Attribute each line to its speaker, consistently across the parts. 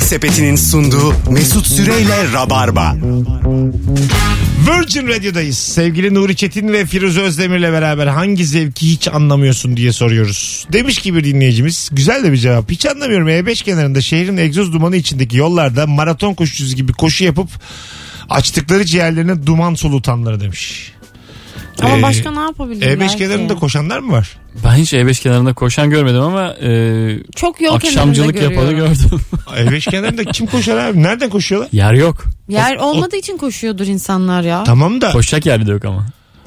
Speaker 1: Sepeti'nin sunduğu Mesut Süreyle Rabarba.
Speaker 2: Virgin Radio'dayız. Sevgili Nuri Çetin ve Firuze Özdemir'le beraber hangi zevki hiç anlamıyorsun diye soruyoruz. Demiş ki bir dinleyicimiz güzel de bir cevap. Hiç anlamıyorum E5 kenarında şehrin egzoz dumanı içindeki yollarda maraton koşucusu gibi koşu yapıp açtıkları ciğerlerine duman solutanları demiş.
Speaker 3: Ama
Speaker 2: Ee,
Speaker 3: başka ne yapabilir
Speaker 2: E5
Speaker 3: belki?
Speaker 2: kenarında koşanlar mı var?
Speaker 4: Ben hiç E5 kenarında koşan görmedim ama e,
Speaker 3: Çok yol
Speaker 4: akşamcılık
Speaker 3: kenarında
Speaker 4: yapanı
Speaker 3: görüyorum.
Speaker 4: gördüm.
Speaker 2: E5 E kenarında kim koşar abi? Nereden koşuyorlar?
Speaker 4: Yer yok.
Speaker 3: Yer olmadığı için koşuyordur insanlar ya.
Speaker 2: Tamam da
Speaker 4: Koşacak yer de yok ama.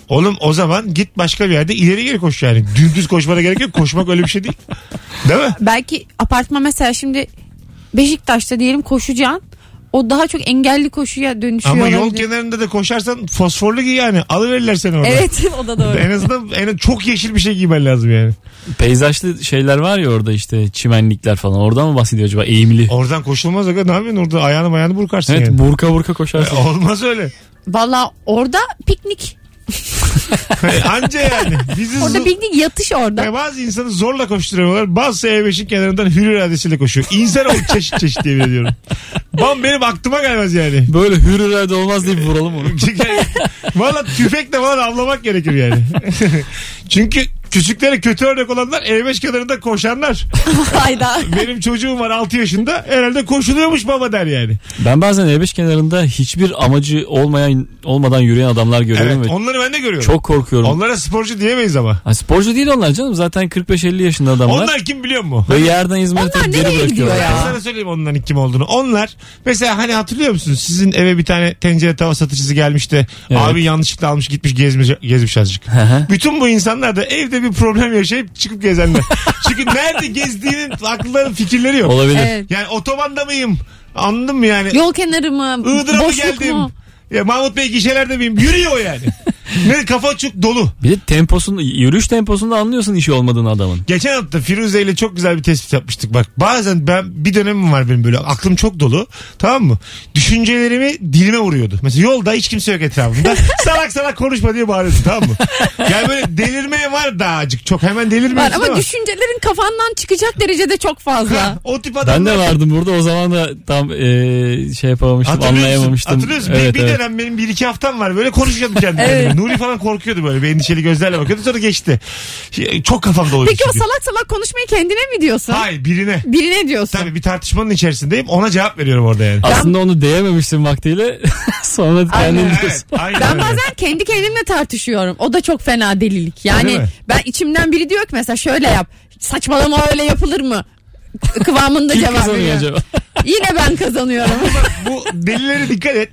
Speaker 2: oğlum o zaman git başka bir yerde ileri geri koş yani. Dümdüz koşmana gerek yok. Koşmak öyle bir şey değil. Değil mi?
Speaker 3: Belki apartman mesela şimdi Beşiktaş'ta diyelim koşacaksın. O daha çok engelli koşuya dönüşüyor.
Speaker 2: Ama yol
Speaker 3: olabilir.
Speaker 2: kenarında da koşarsan fosforlu giy yani. Alıverirler seni orada.
Speaker 3: Evet o da doğru.
Speaker 2: En azından en çok yeşil bir şey giymen lazım yani.
Speaker 4: Peyzajlı şeyler var ya orada işte çimenlikler falan. Oradan mı bahsediyor acaba eğimli?
Speaker 2: Oradan koşulmaz. aga. Ne yapıyorsun orada? Ayağını ayağını burkarsın
Speaker 4: Evet
Speaker 2: yani. E,
Speaker 4: burka burka koşarsın.
Speaker 2: Olmaz öyle.
Speaker 3: Valla orada piknik.
Speaker 2: E, Anca yani. Bizi
Speaker 3: Orada
Speaker 2: zo-
Speaker 3: piknik yatış orada.
Speaker 2: Ya bazı insanı zorla koşturuyorlar. Bazısı E5'in kenarından hür iradesiyle koşuyor. İnsan ol çeşit çeşit diye biliyorum. Bam benim aklıma gelmez yani.
Speaker 4: Böyle hürürlerde olmaz diye bir vuralım onu.
Speaker 2: Valla tüfekle falan avlamak gerekir yani. Çünkü küçüklere kötü örnek olanlar E5 kenarında koşanlar.
Speaker 3: Hayda.
Speaker 2: Benim çocuğum var 6 yaşında. Herhalde koşuluyormuş baba der yani.
Speaker 4: Ben bazen E5 kenarında hiçbir amacı olmayan olmadan yürüyen adamlar görüyorum
Speaker 2: Evet,
Speaker 4: ve
Speaker 2: onları ben de görüyorum.
Speaker 4: çok korkuyorum.
Speaker 2: Onlara sporcu diyemeyiz ama.
Speaker 4: Ha, sporcu değil onlar canım zaten 45-50 yaşında adamlar.
Speaker 2: Onlar kim biliyor mu?
Speaker 4: Ve yerden hizmet
Speaker 3: Onlar
Speaker 4: atıp geri
Speaker 3: nereye
Speaker 4: bırakıyorlar.
Speaker 3: gidiyor
Speaker 2: Ben
Speaker 3: Ya.
Speaker 2: sana söyleyeyim onların kim olduğunu. Onlar mesela hani hatırlıyor musunuz? Sizin eve bir tane tencere tava satıcısı gelmiş de
Speaker 4: Evet.
Speaker 2: abi yanlışlıkla almış gitmiş gezmiş, gezmiş azıcık.
Speaker 4: Hı hı.
Speaker 2: Bütün bu insanlar da evde bir problem yaşayıp çıkıp gezenler. Çünkü nerede gezdiğinin akılların fikirleri yok.
Speaker 4: Olabilir.
Speaker 3: Evet.
Speaker 2: Yani otobanda mıyım? Anladın mı yani?
Speaker 3: Yol kenarı mı?
Speaker 2: Iğdır'a mı
Speaker 3: boşluk
Speaker 2: geldim?
Speaker 3: mu?
Speaker 2: Ya Mahmut Bey gişelerde miyim? Yürüyor yani. ne kafa çok dolu.
Speaker 4: Bir de temposunu, yürüyüş temposunda anlıyorsun işi olmadığını adamın.
Speaker 2: Geçen hafta Firuze ile çok güzel bir tespit yapmıştık bak. Bazen ben bir dönemim var benim böyle aklım çok dolu tamam mı? Düşüncelerimi dilime vuruyordu. Mesela yolda hiç kimse yok etrafımda. salak salak konuşma diye bağırıyorsun tamam mı? Yani böyle delirmeye var daha azıcık çok hemen
Speaker 3: Var
Speaker 2: delirmiyorsun ama.
Speaker 3: ama düşüncelerin kafandan çıkacak derecede çok fazla.
Speaker 2: o tip
Speaker 4: Ben
Speaker 2: adamlar.
Speaker 4: de vardım burada o zaman da tam eee, şey yapamamıştım
Speaker 2: Hatırlıyor musun?
Speaker 4: anlayamamıştım.
Speaker 2: Hatırlıyor musun? Bir-
Speaker 4: Evet,
Speaker 2: bir,
Speaker 4: evet.
Speaker 2: dönem benim bir iki haftam var. Böyle konuşuyordum kendimle.
Speaker 3: Evet.
Speaker 2: Nuri falan korkuyordu böyle. Bir endişeli gözlerle bakıyordu. Sonra geçti. Şey, Çok kafam doluydu.
Speaker 3: Peki o
Speaker 2: çünkü.
Speaker 3: salak salak konuşmayı kendine mi diyorsun?
Speaker 2: Hayır birine.
Speaker 3: Birine diyorsun.
Speaker 2: Tabii bir tartışmanın içerisindeyim. Ona cevap veriyorum orada yani.
Speaker 4: Aslında onu diyememiştim vaktiyle. Sonra kendin
Speaker 3: Aynen.
Speaker 4: diyorsun.
Speaker 2: Evet, aynen
Speaker 3: Ben
Speaker 2: öyle.
Speaker 3: bazen kendi kendimle tartışıyorum. O da çok fena delilik.
Speaker 2: Öyle
Speaker 3: Yani
Speaker 2: mi?
Speaker 3: ben içimden biri diyor ki mesela şöyle yap. Saçmalama öyle yapılır mı? Kıvamında
Speaker 4: Kim
Speaker 3: cevap
Speaker 4: kazanıyor
Speaker 3: veriyor.
Speaker 4: acaba?
Speaker 3: Yine ben kazanıyorum.
Speaker 2: bu delilere dikkat et.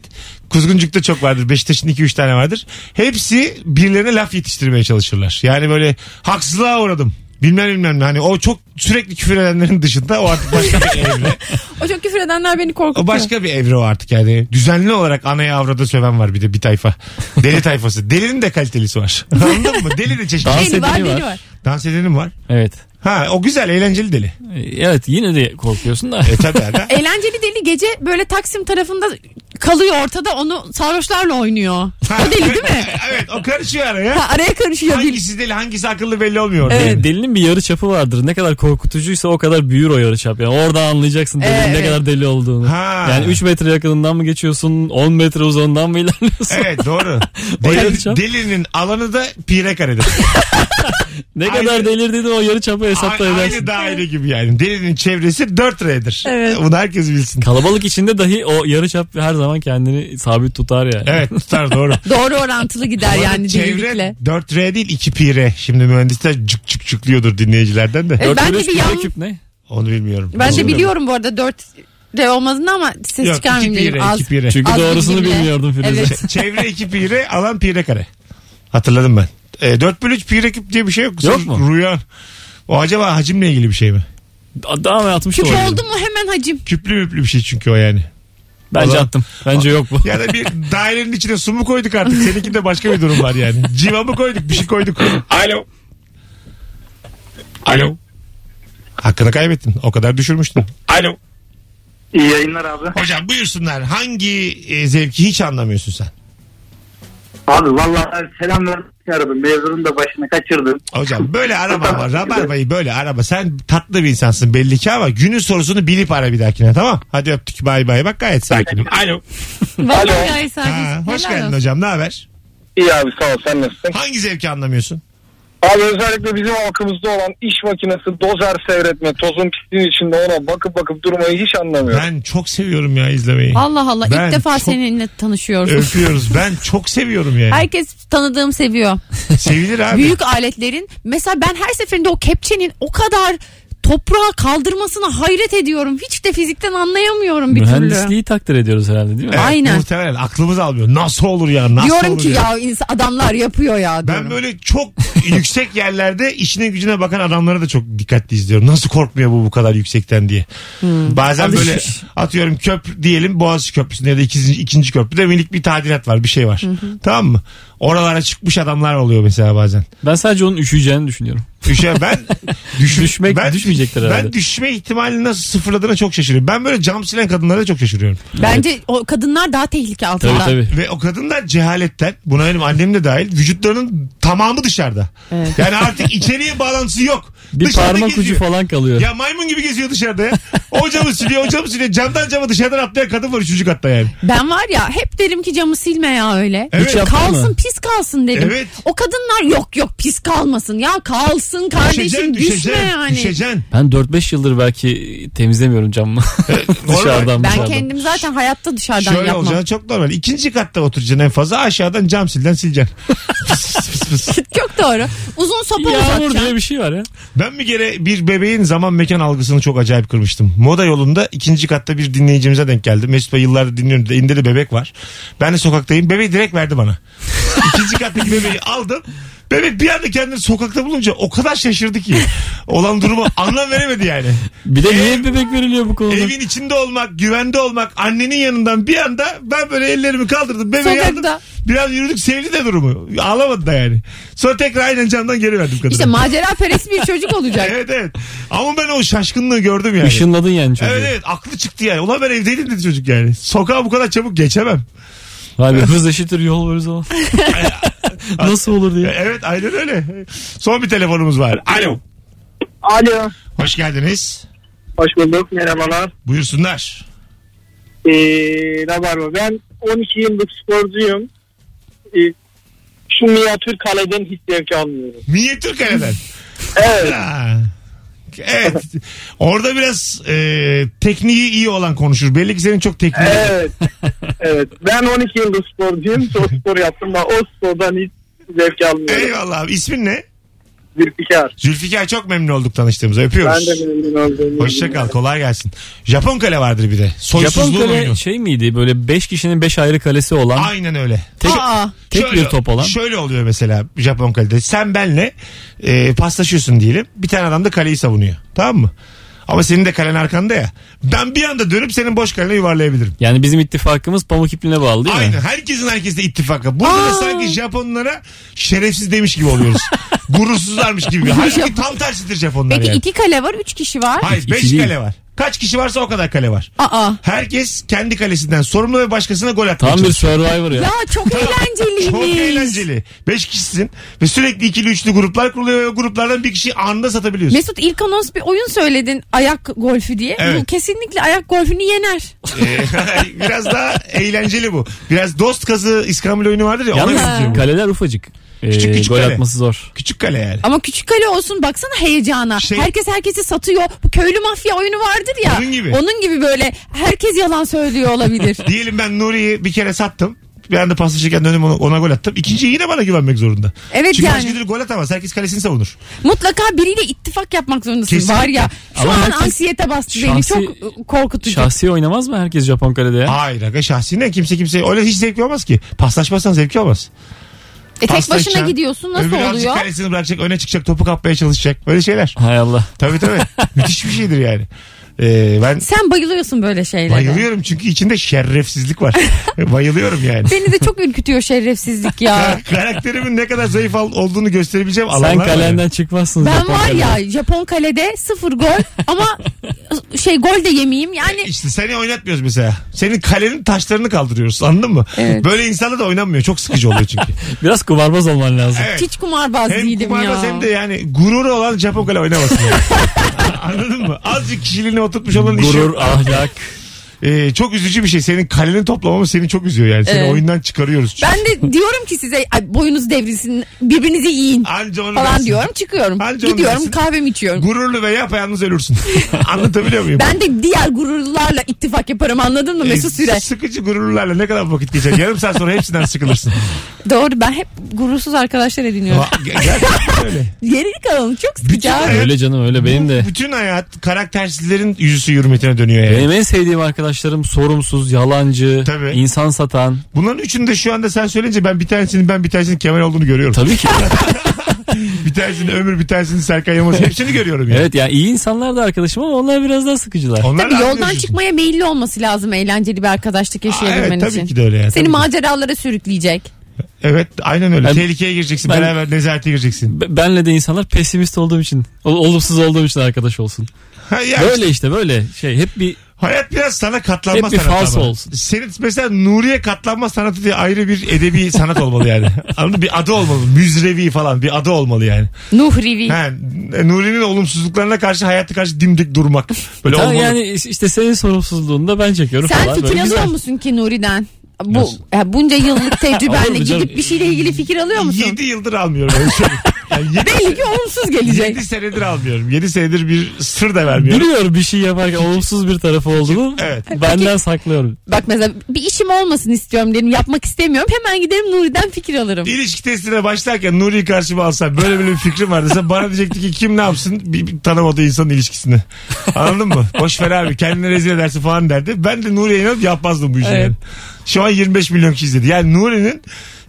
Speaker 2: Kuzguncuk'ta çok vardır. Beşiktaş'ın 2-3 tane vardır. Hepsi birilerine laf yetiştirmeye çalışırlar. Yani böyle haksızlığa uğradım. Bilmem bilmem ne. Hani o çok sürekli küfür edenlerin dışında o artık başka bir şey. evre.
Speaker 3: o çok küfür edenler beni korkutuyor.
Speaker 2: O başka bir evre o artık yani. Düzenli olarak anaya avrada söven var bir de bir tayfa. Deli tayfası. Delinin de kalitelisi var. Anladın mı? Deli de çeşitli.
Speaker 4: Dans-
Speaker 3: Deli var,
Speaker 4: edeni var.
Speaker 3: deli var.
Speaker 2: Dans edenim var.
Speaker 4: Evet.
Speaker 2: Ha o güzel eğlenceli deli.
Speaker 4: Evet yine de korkuyorsun da.
Speaker 2: E tabi ha.
Speaker 3: Eğlenceli deli gece böyle Taksim tarafında kalıyor ortada onu sarhoşlarla oynuyor.
Speaker 2: Ha. e,
Speaker 3: O deli değil mi?
Speaker 2: evet o karışıyor araya.
Speaker 3: Ha, araya karışıyor. bir-
Speaker 2: Hangisi deli hangisi akıllı belli olmuyor. orada.
Speaker 4: Deli- Delinin bir yarı çapı vardır. Ne kadar korkutucuysa o kadar büyür o yarı çap. Yani orada anlayacaksın delinin
Speaker 3: Evet,
Speaker 4: ne
Speaker 3: evet.
Speaker 4: kadar deli olduğunu.
Speaker 2: Ha.
Speaker 4: Yani 3 metre yakınından mı geçiyorsun? 10 metre uzağından mı ilerliyorsun?
Speaker 2: Evet doğru.
Speaker 4: yarışam.
Speaker 2: Deli, delinin alanı da pire karedir.
Speaker 4: ne
Speaker 2: Aynı-
Speaker 4: kadar delirdiğini o yarı çapı hesapla
Speaker 2: A-
Speaker 4: edersin.
Speaker 2: aynı daire gibi yani. Delinin çevresi 4 R'dir.
Speaker 3: Evet.
Speaker 2: Bunu herkes bilsin.
Speaker 4: Kalabalık içinde dahi o yarı çap her zaman kendini sabit tutar yani.
Speaker 2: Evet tutar doğru.
Speaker 3: Doğru orantılı gider
Speaker 2: Bu arada
Speaker 3: yani
Speaker 2: Çevre
Speaker 3: delilikle.
Speaker 2: 4 R değil 2 pi R. Şimdi mühendisler cık cık cıklıyordur dinleyicilerden de.
Speaker 3: Evet.
Speaker 4: Dört
Speaker 3: Ben de
Speaker 4: virüs,
Speaker 3: bir
Speaker 4: bir
Speaker 3: yan-
Speaker 4: küp ne?
Speaker 2: Onu bilmiyorum.
Speaker 3: E, Ben de
Speaker 2: Bilmiyorum.
Speaker 3: biliyorum bu arada 4 de olmadığını ama ses
Speaker 2: Yok 2
Speaker 3: çıkarmayayım
Speaker 2: pi
Speaker 3: dedim.
Speaker 2: R
Speaker 3: Az.
Speaker 2: 2 pi R.
Speaker 4: Çünkü
Speaker 3: Az
Speaker 4: doğrusunu
Speaker 3: bilgimle.
Speaker 4: bilmiyordum Firuze.
Speaker 3: Evet.
Speaker 2: Ç- Çevre 2 pi R alan pi R kare. Hatırladım ben. E, 4 bölü 3 pi R küp diye bir şey yok.
Speaker 4: Yok mu?
Speaker 2: Rüya. O acaba hacimle ilgili bir şey mi?
Speaker 4: Daha mı atmış
Speaker 3: Küp
Speaker 4: olabilir?
Speaker 3: oldu mu hemen hacim.
Speaker 2: Küplü müplü bir şey çünkü o yani.
Speaker 4: Bence
Speaker 2: Olan-
Speaker 4: attım. Bence yok bu.
Speaker 2: Ya da bir dairenin içine su mu koyduk artık? Seninkinde başka bir durum var yani. Civa mı koyduk? Bir şey koyduk. Alo. Alo. Hakkını kaybettin. O kadar düşürmüştün. Alo.
Speaker 5: İyi yayınlar abi.
Speaker 2: Hocam buyursunlar. Hangi e, zevki hiç anlamıyorsun sen?
Speaker 5: Abi vallahi selam vermek için aradım. Mezunun da başını kaçırdım.
Speaker 2: Hocam böyle araba ama rabarbayı böyle araba. Sen tatlı bir insansın belli ki ama günün sorusunu bilip ara bir dahakine tamam. Hadi öptük bay bay bak gayet sakinim. Alo.
Speaker 3: Vallahi gayet
Speaker 2: Ha,
Speaker 3: sakin.
Speaker 2: hoş
Speaker 3: Helal
Speaker 2: geldin
Speaker 3: olsun.
Speaker 2: hocam ne haber?
Speaker 6: İyi abi sağ ol sen nasılsın?
Speaker 2: Hangi zevki anlamıyorsun?
Speaker 6: Abi özellikle bizim halkımızda olan iş makinesi dozer seyretme tozun pisliğin içinde ona bakıp bakıp durmayı hiç anlamıyorum.
Speaker 2: Ben çok seviyorum ya izlemeyi.
Speaker 3: Allah Allah
Speaker 2: Ben
Speaker 3: ilk defa
Speaker 2: çok-
Speaker 3: seninle tanışıyoruz.
Speaker 2: Öpüyoruz. Ben çok seviyorum yani.
Speaker 3: Herkes tanıdığım seviyor.
Speaker 2: Sevilir abi.
Speaker 3: Büyük aletlerin mesela ben her seferinde o kepçenin o kadar toprağa kaldırmasına hayret ediyorum. Hiç de fizikten anlayamıyorum bir türlü.
Speaker 4: Mühendisliği takdir ediyoruz herhalde değil mi?
Speaker 2: Evet,
Speaker 3: Aynen.
Speaker 2: Muhtemelen aklımız almıyor. Nasıl olur ya? Nasıl
Speaker 3: Diyorum
Speaker 2: olur
Speaker 3: ki
Speaker 2: ya?
Speaker 3: ya ins- adamlar yapıyor ya.
Speaker 2: Ben
Speaker 3: diyorum.
Speaker 2: böyle çok yüksek yerlerde işine gücüne bakan adamlara da çok dikkatli izliyorum. Nasıl korkmuyor bu bu kadar yüksekten diye. Bazen böyle
Speaker 4: alışmış.
Speaker 2: atıyorum köprü diyelim Boğaziçi Köprüsü'nde ya da ikinci, ikinci köprüde minik bir tadilat var bir şey var. Tamam mı? Oralara çıkmış adamlar oluyor mesela bazen.
Speaker 4: Ben sadece onun üşüyeceğini düşünüyorum.
Speaker 2: Düşe ben düşün-
Speaker 4: Düşmek- düşmeyecektir herhalde.
Speaker 2: Ben düşme ihtimalini nasıl sıfırladığına çok şaşırıyorum. Ben böyle cam silen kadınlara da çok şaşırıyorum.
Speaker 3: Bence o kadınlar daha tehlike altında.
Speaker 4: Tabii tabii.
Speaker 2: Ve o kadınlar cehaletten buna benim annem de dahil vücutlarının tamamı dışarıda. Yani artık içeriye bağlantısı yok.
Speaker 4: Bir
Speaker 2: Dışarıda
Speaker 4: parmak
Speaker 2: geziyor.
Speaker 4: ucu falan kalıyor.
Speaker 2: Ya maymun gibi geziyor dışarıda ya. O camı siliyor, o camı siliyor. Camdan cama dışarıdan atlayan kadın var üçüncü katta yani.
Speaker 3: Ben var ya hep derim ki camı silme ya öyle.
Speaker 2: Evet. Hiç
Speaker 4: yaptın
Speaker 3: kalsın
Speaker 4: mı?
Speaker 3: pis kalsın dedim.
Speaker 2: Evet.
Speaker 3: O kadınlar yok yok pis kalmasın ya kalsın kardeşim düşme yani.
Speaker 2: düşeceksin.
Speaker 4: Ben 4-5 yıldır belki temizlemiyorum camımı. dışarıdan
Speaker 3: Ben
Speaker 4: dışarıdan.
Speaker 3: kendim zaten hayatta dışarıdan
Speaker 2: Şöyle
Speaker 3: yapmam.
Speaker 2: olacaksın çok normal. İkinci katta oturacaksın en fazla. Aşağıdan cam silden sileceksin. Fıs fıs fıs.
Speaker 3: Çok doğru. Uzun sopa
Speaker 4: Yağmur
Speaker 3: uzatacaksın.
Speaker 4: diye bir şey var ya.
Speaker 2: Ben bir kere bir bebeğin zaman mekan algısını çok acayip kırmıştım. Moda yolunda ikinci katta bir dinleyicimize denk geldi. Mesut Bey yıllardır dinliyorum. Elinde de bebek var. Ben de sokaktayım. Bebeği direkt verdi bana. İkinci kattaki bebeği aldım. Bebek bir anda kendini sokakta bulunca o kadar şaşırdı ki. Olan durumu anlam veremedi yani.
Speaker 4: Bir de niye bebek veriliyor bu konuda?
Speaker 2: Evin içinde olmak, güvende olmak, annenin yanından bir anda ben böyle ellerimi kaldırdım. Bebeği
Speaker 3: Sokakta.
Speaker 2: aldım. Biraz yürüdük sevdi de durumu. Ağlamadı da yani. Sonra tekrar aynen camdan geri verdim kadına.
Speaker 3: İşte macera perest bir çocuk olacak.
Speaker 2: Evet evet. Ama ben o şaşkınlığı gördüm yani.
Speaker 4: Işınladın yani çocuğu.
Speaker 2: Evet evet aklı çıktı yani. Ulan ben evdeydim dedi çocuk yani. Sokağa bu kadar çabuk geçemem.
Speaker 4: Vay be hız eşittir yol varız ama. Nasıl olur diye.
Speaker 2: Evet aynen öyle. Son bir telefonumuz var. Alo.
Speaker 5: Alo.
Speaker 2: Hoş geldiniz.
Speaker 5: Hoş bulduk. Merhabalar.
Speaker 2: Buyursunlar.
Speaker 5: Ee, Rabarba. Ben 12 yıllık sporcuyum. Ee, şu minyatür kaleden hiç zevk almıyorum.
Speaker 2: Minyatür kaleden.
Speaker 5: Evet.
Speaker 2: Ha. Evet. Orada biraz e, tekniği iyi olan konuşur. Belli ki senin çok tekniği.
Speaker 5: Evet. evet. Ben 12 yıllık sporcuyum. Çok spor yaptım da o spordan hiç zevk almıyorum.
Speaker 2: Eyvallah abi. İsmin ne?
Speaker 5: Zülfikar.
Speaker 2: Zülfikar çok memnun olduk tanıştığımıza. Öpüyoruz.
Speaker 5: Ben de memnun oldum.
Speaker 2: Hoşça kal. Kolay gelsin. Japon kale vardır bir de.
Speaker 4: Japon
Speaker 2: Soysuzluğun
Speaker 4: kale
Speaker 2: oyunu.
Speaker 4: şey miydi? Böyle 5 kişinin 5 ayrı kalesi olan
Speaker 2: Aynen öyle.
Speaker 4: tek,
Speaker 3: Aa.
Speaker 4: tek bir top olan.
Speaker 2: Şöyle oluyor mesela Japon kalede. Sen benle e, paslaşıyorsun diyelim. Bir tane adam da kaleyi savunuyor. Tamam mı? Ama senin de kalen arkanda ya. Ben bir anda dönüp senin boş kalene yuvarlayabilirim.
Speaker 4: Yani bizim ittifakımız pamuk ipliğine bağlı değil mi?
Speaker 2: Aynen. Herkesin herkesle ittifakı. Burada da sanki Japonlara şerefsiz demiş gibi oluyoruz. Gurursuzlarmış gibi. Halbuki tam tersidir Japonlar
Speaker 3: Peki
Speaker 2: yani.
Speaker 3: iki kale var, üç kişi var.
Speaker 2: Hayır
Speaker 4: İki
Speaker 2: beş
Speaker 4: değil.
Speaker 2: kale var. Kaç kişi varsa o kadar kale var.
Speaker 3: Aa.
Speaker 2: Herkes kendi kalesinden sorumlu ve başkasına gol atmaya
Speaker 4: Tam bir
Speaker 2: çalışıyor.
Speaker 4: survivor ya.
Speaker 3: Ya çok eğlenceliymiş.
Speaker 2: Çok eğlenceli. Beş kişisin ve sürekli ikili üçlü gruplar kuruluyor ve o gruplardan bir kişiyi anında satabiliyorsun.
Speaker 3: Mesut ilk anons bir oyun söyledin ayak golfü diye.
Speaker 2: Evet.
Speaker 3: Bu kesinlikle ayak golfünü yener.
Speaker 2: Ee, Biraz daha eğlenceli bu. Biraz dost kazı iskambil oyunu vardır ya. Ona
Speaker 4: Yalnız
Speaker 2: benziyor bu.
Speaker 4: kaleler ufacık. Ee,
Speaker 2: Küçük küçük
Speaker 4: gol
Speaker 2: kale.
Speaker 4: atması zor.
Speaker 2: Küçük kale yani.
Speaker 3: Ama küçük kale olsun baksana heyecana.
Speaker 2: Şey-
Speaker 3: herkes herkesi satıyor. Bu köylü mafya oyunu vardır ya.
Speaker 2: Onun gibi.
Speaker 3: Onun gibi böyle herkes yalan söylüyor olabilir.
Speaker 2: Diyelim ben Nuri'yi bir kere sattım. Bir anda paslaşırken döndüm ona, ona gol attım. İkinciye yine bana güvenmek zorunda.
Speaker 3: Evet
Speaker 2: Çünkü
Speaker 3: yani.
Speaker 2: başka türlü gol atamaz. Herkes kalesini savunur.
Speaker 3: Mutlaka biriyle ittifak yapmak zorundasın
Speaker 2: Kesinlikle.
Speaker 3: var ya. Şu
Speaker 4: Ama
Speaker 3: an
Speaker 4: herkes-
Speaker 3: anksiyete bastı beni.
Speaker 4: Şahsi-
Speaker 3: Çok e, korkutucu.
Speaker 4: Şahsi oynamaz mı herkes Japon kalede ya?
Speaker 2: Hayır aga şahsine kimse kimseye öyle hiç zevkli olmaz ki. Paslaşmazsan zevkli olmaz.
Speaker 3: E tek başına
Speaker 2: Paslaşacaksın,
Speaker 3: gidiyorsun nasıl
Speaker 2: öbür azıcık
Speaker 3: oluyor?
Speaker 2: kalesini bırakacak öne çıkacak topu kapmaya çalışacak. Böyle şeyler.
Speaker 4: Hay Allah.
Speaker 2: Tabii tabii. Müthiş bir şeydir yani. Ee, Ee, ben
Speaker 3: Sen bayılıyorsun böyle şeylere.
Speaker 2: bayılıyorum çünkü içinde şerefsizlik var. Ee, bayılıyorum yani.
Speaker 3: Beni de çok ürkütüyor şerefsizlik ya.
Speaker 2: Kar- Karakterimin ne kadar zayıf al- olduğunu gösterebileceğim alanlar
Speaker 4: Sen
Speaker 2: var.
Speaker 4: kalenden çıkmazsın.
Speaker 3: Ben
Speaker 4: zaten
Speaker 3: var
Speaker 4: kaleden.
Speaker 3: ya Japon kalede sıfır gol ama şey gol de yemeyeyim. Yani
Speaker 2: İşte seni oynatmıyoruz mesela. Senin kalenin taşlarını kaldırıyoruz anladın mı?
Speaker 3: Evet.
Speaker 2: Böyle insanla da oynanmıyor. Çok sıkıcı oluyor çünkü.
Speaker 4: Biraz kumarbaz olman lazım.
Speaker 2: Evet.
Speaker 3: hiç kumarbaz
Speaker 2: hem
Speaker 3: değilim
Speaker 2: kumarbaz
Speaker 3: ya.
Speaker 2: hem de yani gururu olan Japon kale oynamasın. yani. Anladın mı? Azıcık kişiliğine oturtmuş olan işi.
Speaker 4: Gurur, ahlak.
Speaker 2: Ee, çok üzücü bir şey. Senin kaleni toplamamız seni çok üzüyor yani. Seni
Speaker 3: Evet.
Speaker 2: oyundan çıkarıyoruz. çünkü.
Speaker 3: Ben de diyorum ki size "Ay, boyunuz devrilsin birbirinizi yiyin
Speaker 2: Anca onu
Speaker 3: falan
Speaker 2: dersin.
Speaker 3: diyorum çıkıyorum.
Speaker 2: Anca onu dersin.
Speaker 3: Gidiyorum kahvemi içiyorum.
Speaker 2: Gururlu ve yapayalnız ölürsün. Anlatabiliyor muyum?
Speaker 3: Ben de diğer gururlarla ittifak yaparım anladın mı
Speaker 2: Ee,
Speaker 3: Mesut Süre?
Speaker 2: Sıkıcı gururlarla ne kadar vakit geçer? Yarım saat sonra hepsinden sıkılırsın.
Speaker 3: Doğru ben hep gurursuz arkadaşlar ediniyorum.
Speaker 2: Ama ger- gerçekten öyle.
Speaker 3: Geri kalalım çok
Speaker 2: Bütün
Speaker 3: sıkıcı abi.
Speaker 2: hayat-
Speaker 4: Öyle canım öyle benim de.
Speaker 2: Bütün hayat karaktersizlerin yüzüsü hürmetine dönüyor yani.
Speaker 4: Benim en sevdiğim arkadaşlarım sorumsuz, yalancı,
Speaker 2: Tabii.
Speaker 4: insan satan.
Speaker 2: Bunların üçünü de şu anda sen söyleyince ben bir tanesinin ben bir tanesinin Kemal olduğunu görüyorum.
Speaker 4: Tabii ki.
Speaker 2: Bir tanesinin Ömür bir tanesinin Serkan Yılmaz hepsini görüyorum yani.
Speaker 4: evet yani iyi insanlar da arkadaşım ama onlar biraz daha sıkıcılar.
Speaker 2: Onlar
Speaker 3: Tabii
Speaker 2: da
Speaker 3: yoldan
Speaker 2: anlıyorsun.
Speaker 3: çıkmaya meyilli olması lazım eğlenceli bir arkadaşlık
Speaker 2: Aa,
Speaker 3: yaşayabilmen
Speaker 2: Evet tabii
Speaker 3: için.
Speaker 2: ki de öyle yani.
Speaker 3: Seni
Speaker 2: Tabii ki.
Speaker 3: maceralara sürükleyecek.
Speaker 2: Evet aynen öyle.
Speaker 4: Ben-
Speaker 2: Tehlikeye gireceksin
Speaker 4: Ben-
Speaker 2: beraber nezarete gireceksin.
Speaker 4: Be- Benle de insanlar pesimist olduğum için, ol- olumsuz olduğum için arkadaş olsun.
Speaker 2: Ha, ya
Speaker 4: Böyle işte böyle şey hep bir
Speaker 2: Hayat biraz sana katlanma
Speaker 4: Hep bir
Speaker 2: sanatı
Speaker 4: falso
Speaker 2: ama.
Speaker 4: olsun.
Speaker 2: Senin mesela Nuriye katlanma sanatı diye ayrı bir edebi sanat olmalı yani. Anladın mı? Bir adı olmalı. Müzrevi falan bir adı olmalı yani.
Speaker 3: Nuh Rivi.
Speaker 2: Ha, Nuri'nin olumsuzluklarına karşı hayata karşı dimdik durmak. Böyle
Speaker 4: Ta-
Speaker 2: olmalı.
Speaker 4: yani işte senin sorumsuzluğunu da ben çekiyorum
Speaker 3: Sen
Speaker 4: falan. Böyle
Speaker 3: fikir alıyor
Speaker 4: güzel.
Speaker 3: musun ki Nuri'den? Bu
Speaker 4: Nasıl?
Speaker 3: ya bunca yıllık
Speaker 4: Alırım
Speaker 3: tecrübenle
Speaker 4: canım.
Speaker 3: gidip bir şeyle ilgili fikir alıyor musun?
Speaker 2: 7 yıldır almıyorum. öyle söyleyeyim. Yani
Speaker 3: Belli ki olumsuz
Speaker 2: 7,
Speaker 3: gelecek.
Speaker 2: senedir almıyorum. 7 senedir bir sır da vermiyorum.
Speaker 4: Biliyor bir şey yaparken olumsuz bir tarafı olduğunu
Speaker 2: Evet.
Speaker 4: benden saklıyorum.
Speaker 3: Bak mesela bir işim olmasın istiyorum dedim yapmak istemiyorum hemen giderim Nuri'den fikir alırım.
Speaker 2: İlişki testine başlarken Nuri'yi karşıma alsam böyle böyle bir fikrim var desem bana diyecekti ki kim ne yapsın bir, bir tanımadığı insanın ilişkisini. Anladın mı? Boş ver abi kendini rezil edersin falan derdi. Ben de Nuri'ye inanıp yapmazdım bu işi
Speaker 3: Evet.
Speaker 2: yani. Şu an 25 milyon kişi izledi. Yani Nuri'nin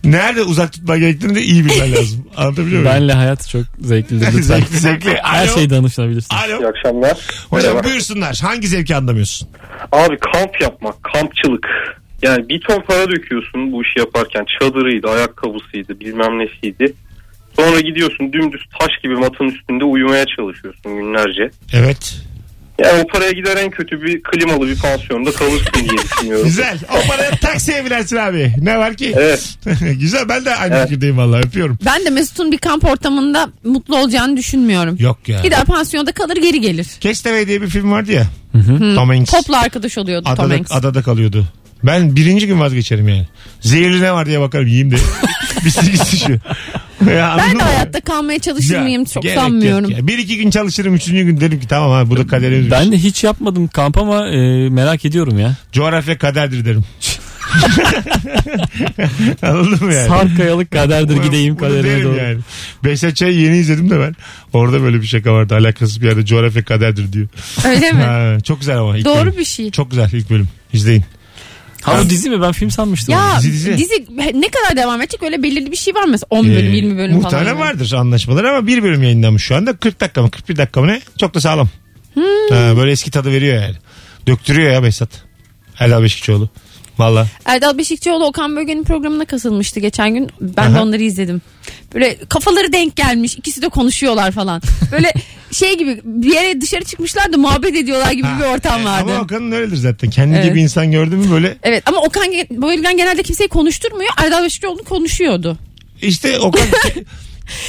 Speaker 2: nerede uzak tutma gerektiğini de iyi bilmen lazım. Anlatabiliyor muyum?
Speaker 4: Benle hayat çok zevklidir lütfen.
Speaker 2: zevkli zevkli.
Speaker 4: Her
Speaker 2: Alo.
Speaker 4: şey danışılabilirsin.
Speaker 2: Alo.
Speaker 6: İyi akşamlar.
Speaker 2: Hocam
Speaker 6: Merhaba.
Speaker 2: buyursunlar. Hangi zevki anlamıyorsun?
Speaker 6: Abi kamp yapmak, kampçılık. Yani bir ton para döküyorsun bu işi yaparken. Çadırıydı, ayakkabısıydı, bilmem nesiydi. Sonra gidiyorsun dümdüz taş gibi matın üstünde uyumaya çalışıyorsun günlerce.
Speaker 2: Evet.
Speaker 6: Yani o paraya gider en kötü bir klimalı bir pansiyonda kalırsın diye düşünüyorum.
Speaker 2: Güzel. O paraya taksiye binersin abi. Ne var ki?
Speaker 6: Evet.
Speaker 2: Güzel. Ben de aynı
Speaker 6: Evet.
Speaker 2: fikirdeyim valla. Öpüyorum.
Speaker 3: Ben de Mesut'un bir kamp ortamında mutlu olacağını düşünmüyorum.
Speaker 2: Yok ya.
Speaker 3: Gider pansiyonda kalır geri gelir.
Speaker 2: Castaway diye bir film vardı ya. Tom Hanks.
Speaker 3: Topla arkadaş oluyordu Hmm. Tom
Speaker 2: adada,
Speaker 3: Hanks.
Speaker 2: adada kalıyordu. Ben birinci gün vazgeçerim yani. Zehirli ne var diye bakarım yiyeyim de. bir sigisi şu. Ya,
Speaker 3: ben
Speaker 2: anladın
Speaker 3: de
Speaker 2: mı?
Speaker 3: hayatta kalmaya çalışır
Speaker 2: Ya,
Speaker 3: mıyım çok
Speaker 2: gerek yok
Speaker 3: sanmıyorum.
Speaker 2: ya. Bir iki gün çalışırım. Üçüncü gün derim ki tamam abi bu da kaderimiz.
Speaker 4: Ben de hiç yapmadım kamp ama e, merak ediyorum ya.
Speaker 2: Coğrafya kaderdir derim. Anladın mı yani?
Speaker 4: Sarp kayalık kaderdir gideyim
Speaker 2: Bunu derim
Speaker 4: kaderime doğru.
Speaker 2: Yani. Beysel Çay'ı yeni izledim de ben. Orada böyle bir şaka vardı. Alakasız bir yerde coğrafya kaderdir diyor.
Speaker 3: Öyle mi?
Speaker 2: Ha, çok güzel ama. ilk
Speaker 3: Doğru
Speaker 2: bölüm.
Speaker 3: bir şey.
Speaker 2: Çok güzel ilk bölüm. İzleyin.
Speaker 4: Ha bu dizi mi ben film sanmıştım.
Speaker 3: Ya
Speaker 2: Dizi,
Speaker 3: dizi,
Speaker 2: dizi.
Speaker 3: ne kadar devam edecek öyle belirli bir şey var mı? 10 bölüm
Speaker 2: Ee,
Speaker 3: 20 bölüm falan.
Speaker 2: Muhtemelen
Speaker 3: gibi.
Speaker 2: vardır anlaşmalar ama bir bölüm yayınlanmış şu anda. 40 dakika mı 41 dakika mı ne? Çok da sağlam.
Speaker 3: Hmm.
Speaker 2: Ha, böyle eski tadı veriyor yani. Döktürüyor ya Behzat. Erdal Beşikçioğlu. Valla.
Speaker 3: Erdal Beşikçioğlu Okan Bölge'nin programına kasılmıştı geçen gün. Ben de
Speaker 2: Aha.
Speaker 3: onları izledim. Böyle kafaları denk gelmiş. ikisi de konuşuyorlar falan. Böyle şey gibi bir yere dışarı çıkmışlar da muhabbet ediyorlar gibi bir ortam vardı.
Speaker 2: Ama Okan'ın öyledir zaten. Kendi
Speaker 3: Evet.
Speaker 2: gibi insan gördün mü böyle
Speaker 3: Evet ama Okan Ge- Bölgen genelde kimseyi konuşturmuyor. Erdal Beşikçioğlu konuşuyordu.
Speaker 2: işte Okan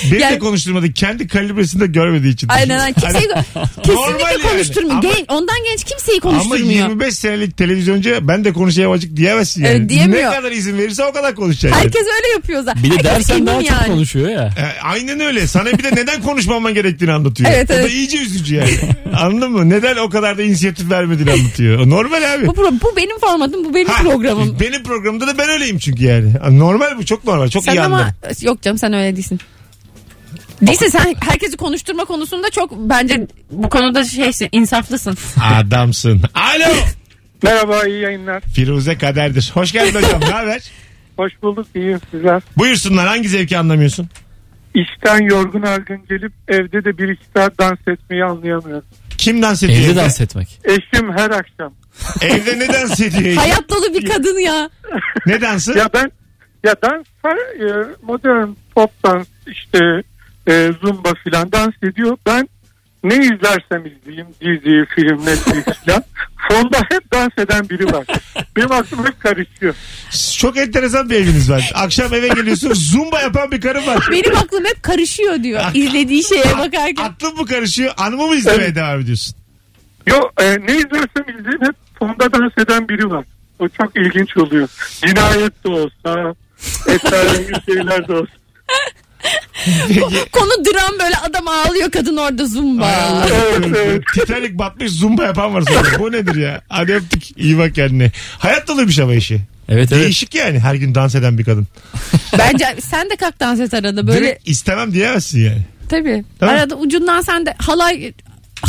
Speaker 2: Beni de
Speaker 3: Yani-
Speaker 2: konuşturmadı. Kendi kalibresini de görmediği için. Hani
Speaker 3: Aynen aynen. Kimseyi,
Speaker 2: Normal yani.
Speaker 3: kesinlikle konuşturmuyor.
Speaker 2: Ama-
Speaker 3: Gen- ondan genç kimseyi
Speaker 2: Ama
Speaker 3: konuşturmuyor.
Speaker 2: 25 senelik televizyoncuya ben de konuşamayacak diyemezsin yani.
Speaker 3: Evet, diyemiyor.
Speaker 2: Ne kadar izin verirse o kadar konuşacak. yani.
Speaker 3: Herkes öyle yapıyor zaten.
Speaker 4: Bir de
Speaker 3: Herkes
Speaker 4: dersen
Speaker 3: emin
Speaker 4: daha çok
Speaker 3: yani.
Speaker 4: konuşuyor ya.
Speaker 2: E, aynen öyle. Sana bir de neden konuşmaman gerektiğini anlatıyor.
Speaker 3: Evet,
Speaker 2: O da
Speaker 3: evet.
Speaker 2: iyice üzücü yani. Anladın mı? Neden o kadar da inisiyatif vermediğini anlatıyor. Normal abi.
Speaker 3: Bu, pro- bu benim formatım, bu benim
Speaker 2: Ha,
Speaker 3: programım.
Speaker 2: Benim programımda da ben öyleyim çünkü yani. Normal bu çok normal. Çok
Speaker 3: Sen
Speaker 2: iyi
Speaker 3: ama
Speaker 2: anladım.
Speaker 3: yok canım sen öyle değilsin. Değilsin sen herkesi konuşturma konusunda çok bence bu konuda şeysin insaflısın.
Speaker 2: Adamsın. Alo.
Speaker 5: Merhaba iyi yayınlar.
Speaker 2: Firuze Kader'dir. Hoş geldin hocam. Ne haber?
Speaker 5: Hoş bulduk iyiyim sizler.
Speaker 2: Buyursunlar. Hangi zevki anlamıyorsun?
Speaker 5: İşten yorgun argın gelip evde de bir iki saat dans etmeyi anlayamıyorum.
Speaker 2: Kim dans ediyor?
Speaker 4: Evde dans etmek.
Speaker 5: Eşim her akşam.
Speaker 2: Evde ne dans ediyor?
Speaker 3: Hayat dolu bir kadın ya.
Speaker 2: ne dansı?
Speaker 5: Ya ben ya dans var, e, modern pop dans işte e, zumba filan dans ediyor. Ben ne izlersem izleyeyim dizi, film, Netflix filan. Fonda hep dans eden biri var. Benim aklım hep karışıyor.
Speaker 2: Çok enteresan bir eviniz var. Akşam eve geliyorsun zumba yapan bir karın var.
Speaker 3: Benim aklım hep karışıyor diyor. İzlediği
Speaker 2: Ah.
Speaker 3: şeye bakarken.
Speaker 2: Aklın mı karışıyor? Anımı mı izlemeye devam ediyorsun?
Speaker 5: Yo e, ne izlersem izleyeyim hep fonda dans eden biri var. O çok ilginç oluyor. Cinayet de olsa, esrarengiz şeyler de olsa.
Speaker 2: Peki.
Speaker 3: Konu dram böyle adam ağlıyor kadın orada
Speaker 2: Hay
Speaker 3: zumba.
Speaker 2: Allah.
Speaker 5: Evet, evet.
Speaker 2: Titanic batmış zumba yapan var sonra. Bu nedir ya? Hadi öptük. İyi bak kendine. Hayat doluymuş ama işi.
Speaker 4: Evet evet.
Speaker 2: Değişik yani her gün dans eden bir kadın.
Speaker 3: Bence sen de kalk dans et arada
Speaker 2: Böyle...
Speaker 3: böyle.
Speaker 2: istemem diyemezsin yani.
Speaker 3: Tabii.
Speaker 2: Tamam.
Speaker 3: Arada ucundan sen de halay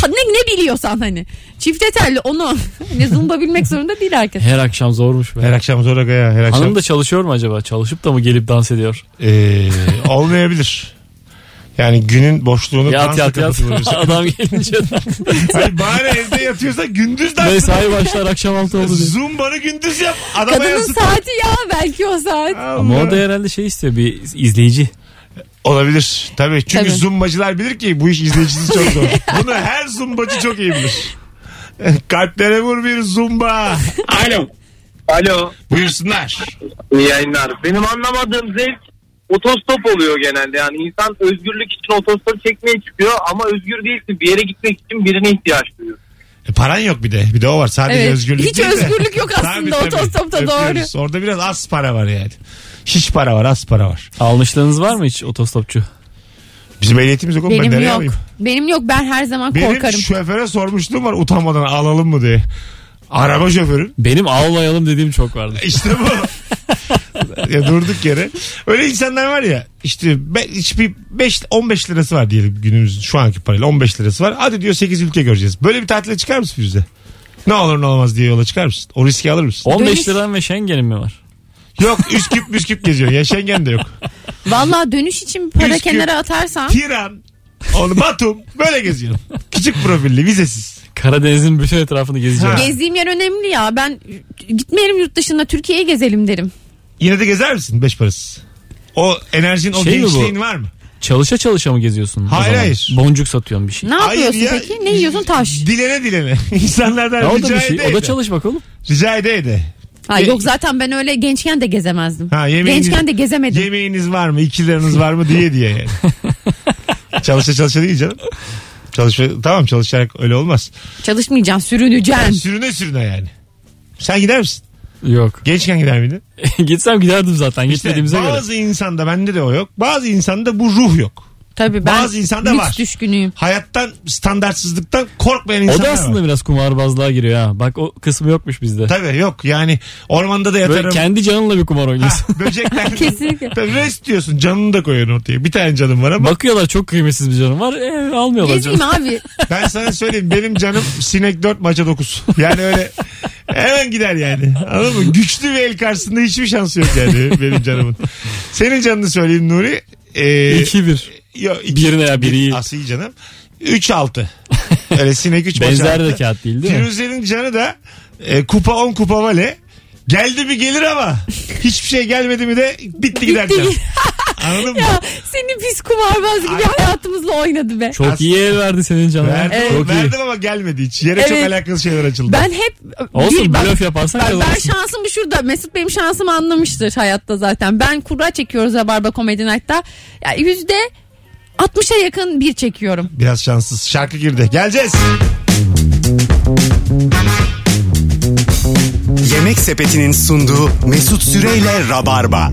Speaker 3: Ha, ne, ne biliyorsan hani. Çifte telli onu. ne zumba bilmek zorunda değil herkes.
Speaker 4: Her akşam zormuş be.
Speaker 2: Her akşam zor aga ya. Her akşam.
Speaker 4: Hanım da çalışıyor mu acaba? Çalışıp da mı gelip dans ediyor?
Speaker 2: Ee, olmayabilir. Yani günün boşluğunu
Speaker 4: yat
Speaker 2: dansla
Speaker 4: yat yat.
Speaker 2: kapatıyoruz.
Speaker 4: Adam gelince.
Speaker 2: Hayır bari evde yatıyorsa gündüz dans.
Speaker 4: Mesai başlar akşam altı oldu diye.
Speaker 2: Zumbanı gündüz yap. Adama
Speaker 3: Kadının
Speaker 2: yansıt.
Speaker 3: saati ya belki o saat.
Speaker 2: Allah.
Speaker 4: Ama o da herhalde şey istiyor bir izleyici.
Speaker 2: Olabilir. Tabii. Çünkü
Speaker 3: Tabii.
Speaker 2: zumbacılar bilir ki bu iş izleyicisi çok zor. Bunu her zumbacı çok iyi bilir. Kalplere vur bir zumba.
Speaker 6: Alo. Alo.
Speaker 2: Buyursunlar.
Speaker 6: İyi yayınlar. Benim anlamadığım zevk otostop oluyor genelde. Yani insan özgürlük için otostop çekmeye çıkıyor ama özgür değilsin. Bir yere gitmek için birine ihtiyaç duyuyor.
Speaker 2: E, paran yok bir de. Bir de o var. Sadece
Speaker 3: Evet.
Speaker 2: özgürlük
Speaker 3: Hiç
Speaker 2: değil de.
Speaker 3: özgürlük yok aslında otostopta,
Speaker 2: Öpüyoruz. Orada biraz az para var yani. Hiç para var az para var.
Speaker 4: Almışlığınız var mı hiç otostopçu?
Speaker 2: Bizim ehliyetimiz yok oğlum ben
Speaker 3: Benim
Speaker 2: nereye
Speaker 3: yok.
Speaker 2: alayım?
Speaker 3: Benim yok ben her zaman
Speaker 2: Benim
Speaker 3: korkarım.
Speaker 2: şoföre sormuşluğum var utanmadan alalım mı diye. Araba şoförü.
Speaker 4: Benim avlayalım dediğim çok vardı.
Speaker 2: İşte bu. ya durduk yere. Öyle insanlar var ya işte be, hiçbir 5 15 lirası var diyelim günümüzün şu anki parayla 15 lirası var. Hadi diyor 8 ülke göreceğiz. Böyle bir tatile çıkar mısın Firuze? Ne olur ne olmaz diye yola çıkar mısın? O riski alır mısın?
Speaker 4: 15
Speaker 3: Dönüş-
Speaker 4: liran ve Schengen'in mi var?
Speaker 2: yok üsküp müsküp geziyor. Ya Schengen de yok.
Speaker 3: Vallahi dönüş için para
Speaker 2: Üsküp.
Speaker 3: kenara atarsam
Speaker 2: Tiran, onu Batum böyle geziyorum. Küçük profilli vizesiz.
Speaker 4: Karadeniz'in bütün etrafını gezeceğim.
Speaker 2: Ha.
Speaker 3: gezdiğim yer önemli ya. Ben gitmeyelim yurt dışında Türkiye'ye gezelim derim.
Speaker 2: Yine de gezer misin beş parasız? O enerjin o
Speaker 4: Şey mi bu?
Speaker 2: gençliğin var mı?
Speaker 4: Çalışa çalışa mı geziyorsun? o
Speaker 2: Hayır,
Speaker 4: zaman?
Speaker 2: hayır.
Speaker 4: Boncuk satıyorsun bir şey.
Speaker 3: Ne
Speaker 2: Hayır
Speaker 3: yapıyorsun
Speaker 2: ya.
Speaker 3: peki? Ne yiyorsun taş?
Speaker 2: Dilene dilene. İnsanlardan
Speaker 4: Ya o da
Speaker 2: rica
Speaker 4: bir şey.
Speaker 2: ede
Speaker 4: O da
Speaker 2: ede.
Speaker 4: çalışmak oğlum.
Speaker 2: Rica ede ede.
Speaker 3: Ha, yok zaten ben öyle gençken de gezemezdim.
Speaker 2: Ha, yemeğini-
Speaker 3: gençken de gezemedim.
Speaker 2: Yemeğiniz var mı? İkileriniz var mı? Diye diye yani. çalışa çalışa değil canım. Çalışma, tamam çalışarak öyle olmaz.
Speaker 3: Çalışmayacağım sürüneceğim.
Speaker 2: Sürüne sürüne yani. Sen gider misin?
Speaker 4: Yok.
Speaker 2: Gençken gider miydin?
Speaker 4: Gitsem giderdim zaten.
Speaker 2: İşte
Speaker 4: Gitmediğimize göre.
Speaker 2: bazı insanda bende de o yok. Bazı insanda bu ruh yok.
Speaker 3: Tabii ben
Speaker 2: Bazı insanda
Speaker 3: lüks
Speaker 2: var.
Speaker 3: düşkünüyüm.
Speaker 2: Hayattan, standartsızlıktan korkmayan
Speaker 4: O
Speaker 2: insanlar
Speaker 4: da aslında
Speaker 2: var.
Speaker 4: biraz kumarbazlığa giriyor ha. Bak o kısmı yokmuş bizde.
Speaker 2: Tabii yok yani ormanda da
Speaker 4: Böyle
Speaker 2: yatarım.
Speaker 4: kendi canınla bir kumar oynuyorsun.
Speaker 2: Ah, böcekler.
Speaker 3: Kesinlikle.
Speaker 2: Tabii rest diyorsun canını da koyuyorsun ortaya. Bir tane canım var ama
Speaker 4: Bakıyorlar çok kıymetsiz bir canım var. E, almıyorlar
Speaker 3: Gezeyim
Speaker 4: canım.
Speaker 3: abi.
Speaker 2: ben sana söyleyeyim benim canım sinek 4 maça 9. Yani öyle hemen gider yani. Anladın mı? Güçlü bir el karşısında hiçbir şansı yok yani benim canımın. Senin canını söyleyeyim Nuri. Ee,
Speaker 4: 2-1.
Speaker 2: yo, iki-
Speaker 4: Birine ya biri iyi.
Speaker 2: Asıl iyi canım. 3-6. Öyle sinek 3 maça.
Speaker 4: Benzer
Speaker 2: altı.
Speaker 4: de kağıt değil değil mi?
Speaker 2: Firuze'nin canı da e, kupa 10 kupa vale. Geldi mi gelir ama hiçbir şey gelmedi mi de bitti gider
Speaker 3: Bitti.
Speaker 2: can. Anladın mı?
Speaker 3: Ya seni pis kumarbaz gibi hayatımızla oynadı be.
Speaker 4: Çok iyi el verdi senin canına.
Speaker 2: Verdim,
Speaker 4: Çok iyi.
Speaker 2: verdim ama gelmedi hiç. Yere çok
Speaker 3: Evet.
Speaker 2: alakalı şeyler açıldı.
Speaker 3: Ben hep
Speaker 4: Olsun
Speaker 3: bir- bak-
Speaker 4: blöf yaparsan
Speaker 3: Bak ben
Speaker 4: kazanırsın.
Speaker 3: şansımı şurada. Mesut benim şansımı anlamıştır hayatta zaten. Ben kura çekiyoruz Rabarba Comedy Night'ta. Ya yüzde 60'a yakın bir çekiyorum.
Speaker 2: Biraz şanssız. Şarkı girdi. Geleceğiz.
Speaker 1: Yemek Sepeti'nin sunduğu Mesut Süreyle Rabarba.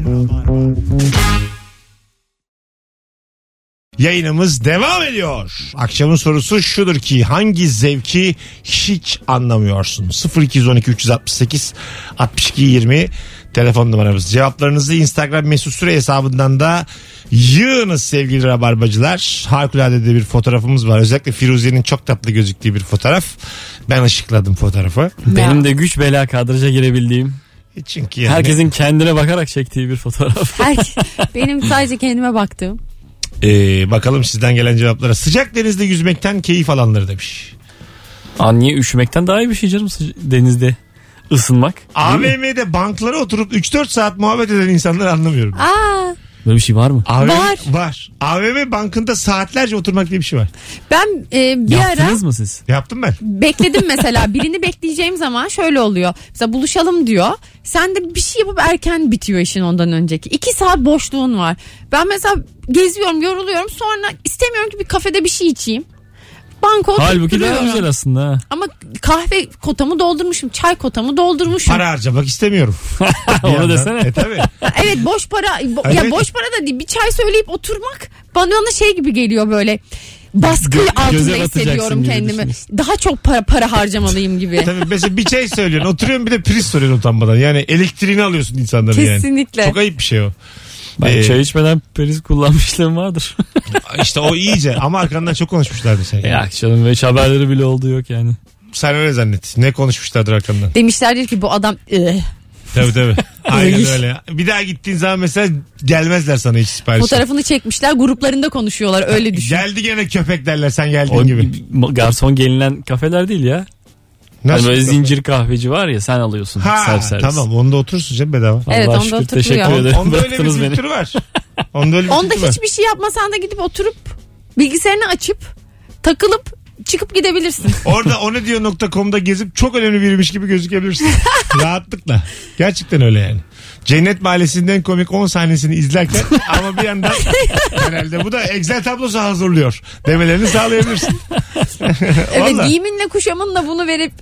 Speaker 2: Yayınımız devam ediyor. Akşamın sorusu şudur ki hangi zevki hiç anlamıyorsun? 0212 368 62 20 telefon numaramız. Cevaplarınızı Instagram mesut süre hesabından da yığınız sevgili rabarbacılar. Harikulade de bir fotoğrafımız var. Özellikle Firuze'nin çok tatlı gözüktüğü bir fotoğraf. Ben ışıkladım fotoğrafı. E,
Speaker 4: Benim de güç bela kadraja girebildiğim.
Speaker 2: Çünkü yani...
Speaker 4: Herkesin kendine bakarak çektiği bir fotoğraf.
Speaker 3: Her- benim sadece kendime baktığım.
Speaker 2: e, Ee, bakalım sizden gelen cevaplara. Sıcak denizde yüzmekten keyif alanları demiş.
Speaker 4: Aa, niye üşümekten daha iyi bir şey canım sıca- denizde ısınmak. Değil mi?
Speaker 2: AVM'de banklara oturup 3-4 saat muhabbet eden insanları anlamıyorum.
Speaker 3: Aa,
Speaker 4: Böyle bir şey var mı?
Speaker 2: AVM,
Speaker 3: Var.
Speaker 2: Var. AVM bankında saatlerce oturmak diye bir şey var.
Speaker 3: ben e, bir ara
Speaker 4: Yaptınız mı siz?
Speaker 2: Yaptım ben.
Speaker 3: bekledim mesela birini bekleyeceğim zaman şöyle oluyor. Mesela buluşalım diyor. Sen de bir şey yapıp erken bitiyor işin ondan önceki. İki saat boşluğun var. Ben mesela geziyorum yoruluyorum sonra istemiyorum ki bir kafede bir şey içeyim. Banka oturup
Speaker 4: Halbuki daha
Speaker 3: duruyorum.
Speaker 4: güzel aslında. ha.
Speaker 3: Ama kahve kotamı doldurmuşum, çay kotamı doldurmuşum.
Speaker 2: Para harcamak istemiyorum. Bir
Speaker 4: Onu
Speaker 2: yandan-
Speaker 4: desene.
Speaker 2: E tabii.
Speaker 3: Evet boş para bo-
Speaker 2: Evet.
Speaker 3: ya boş para da değil bir çay söyleyip oturmak bana ona şey gibi geliyor böyle baskı
Speaker 4: Gö-
Speaker 3: altında
Speaker 4: göze batacaksın
Speaker 3: hissediyorum
Speaker 4: gibi
Speaker 3: kendimi.
Speaker 4: düşünüyorsun.
Speaker 3: Daha çok para para harcamalıyım gibi.
Speaker 2: Tabii mesela bir şey söylüyorsun. Oturuyorsun bir de priz soruyorsun utanmadan. Yani elektriğini alıyorsun insanların yani.
Speaker 3: Kesinlikle.
Speaker 2: Çok ayıp bir şey o.
Speaker 4: Ben
Speaker 2: Ee,
Speaker 4: çay içmeden periz kullanmışlığım vardır.
Speaker 2: İşte o iyice ama arkandan çok konuşmuşlardı seni.
Speaker 4: ya canım hiç haberleri bile oldu yok yani.
Speaker 2: Sen öyle zannet. Ne konuşmuşlardır arkandan.
Speaker 3: Demişlerdir ki bu adam "Ih."
Speaker 2: Tabii tabii. Aynen
Speaker 4: Öyle.
Speaker 2: öyle. Bir daha gittiğin zaman mesela gelmezler sana hiç sipariş.
Speaker 3: fotoğrafını çekmişler gruplarında konuşuyorlar öyle düşün.
Speaker 2: Geldi gene köpek derler sen geldiğin
Speaker 4: O
Speaker 2: gibi.
Speaker 4: garson gelinen kafeler değil ya. Hani böyle zincir kahveci var ya sen alıyorsun.
Speaker 2: Ha
Speaker 4: self service.
Speaker 2: tamam onda oturursun canım bedava.
Speaker 4: Vallahi
Speaker 3: Evet, onda
Speaker 4: şükür,
Speaker 3: oturtuluyor.
Speaker 4: teşekkür
Speaker 3: On-
Speaker 4: ederim.
Speaker 2: Onda öyle bir
Speaker 4: Bıraktınız beni.
Speaker 2: kültür var. Onda öyle bir
Speaker 3: Onda
Speaker 2: kültür var.
Speaker 3: hiçbir şey yapmasan da gidip oturup bilgisayarını açıp takılıp çıkıp gidebilirsin.
Speaker 2: Orada o ne diyor.com'da gezip çok önemli biriymiş gibi gözükebilirsin. Rahatlıkla. Gerçekten öyle yani. Cennet Mahallesi'nden komik 10 sahnesini izlerken ama bir yandan herhalde bu da Excel tablosu hazırlıyor demelerini sağlayabilirsin.
Speaker 3: evet
Speaker 2: Vallahi.
Speaker 3: giyiminle kuşamınla bunu verip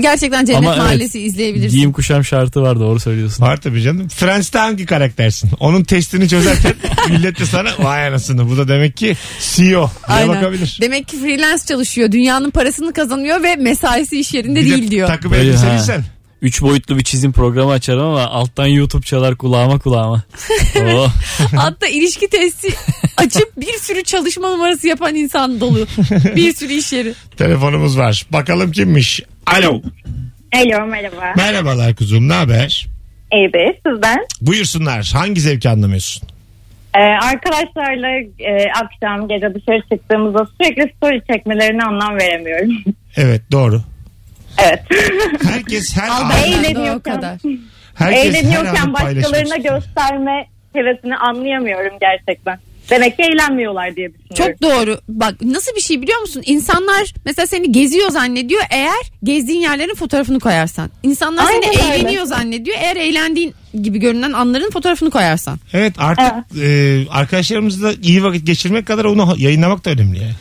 Speaker 3: gerçekten Cennet
Speaker 4: Ama evet,
Speaker 3: Mahallesi izleyebilirsin.
Speaker 4: Giyim kuşam şartı var doğru söylüyorsun.
Speaker 2: Var tabii canım. Friends'te hangi karaktersin? Onun testini çözerken millet de sana vay anasını bu da demek ki CEO diye
Speaker 3: Aynen.
Speaker 2: bakabilir.
Speaker 3: Demek ki freelance çalışıyor. Dünyanın parasını kazanıyor ve mesaisi iş yerinde
Speaker 2: Bir de
Speaker 3: değil diyor.
Speaker 2: Takım
Speaker 4: Böyle ha.
Speaker 2: elbiseliysen.
Speaker 4: Üç boyutlu bir çizim programı açarım ama alttan YouTube çalar kulağıma kulağıma. Oo.
Speaker 3: Hatta ilişki testi açıp bir sürü çalışma numarası yapan insan dolu. Bir sürü iş yeri.
Speaker 2: Telefonumuz var. Bakalım kimmiş? Alo.
Speaker 7: Alo merhaba.
Speaker 2: Merhabalar kuzum ne haber?
Speaker 7: Evet sizden.
Speaker 2: Buyursunlar. Hangi zevki anlamıyorsun?
Speaker 7: Ee, arkadaşlarla e, akşam gece dışarı çıktığımızda sürekli story çekmelerine anlam veremiyorum.
Speaker 2: Evet doğru.
Speaker 7: evet.
Speaker 2: Herkes her
Speaker 3: Al
Speaker 2: an,
Speaker 3: benden de
Speaker 7: Eğleniyorken.
Speaker 3: o kadar.
Speaker 2: herkes her anı
Speaker 7: Eğleniyorken başkalarına
Speaker 2: paylaşır.
Speaker 7: gösterme hevesini anlayamıyorum gerçekten. Demek ki eğlenmiyorlar diye düşünüyorum.
Speaker 3: Çok doğru. Bak nasıl bir şey biliyor musun? İnsanlar mesela seni geziyor zannediyor. Eğer gezdiğin yerlerin fotoğrafını koyarsan. İnsanlar
Speaker 7: Aynen
Speaker 3: seni
Speaker 7: öyle.
Speaker 3: eğleniyor zannediyor. Eğer eğlendiğin gibi görünen anların fotoğrafını koyarsan.
Speaker 2: Evet artık e, arkadaşlarımızla iyi vakit geçirmek kadar onu yayınlamak da önemli yani.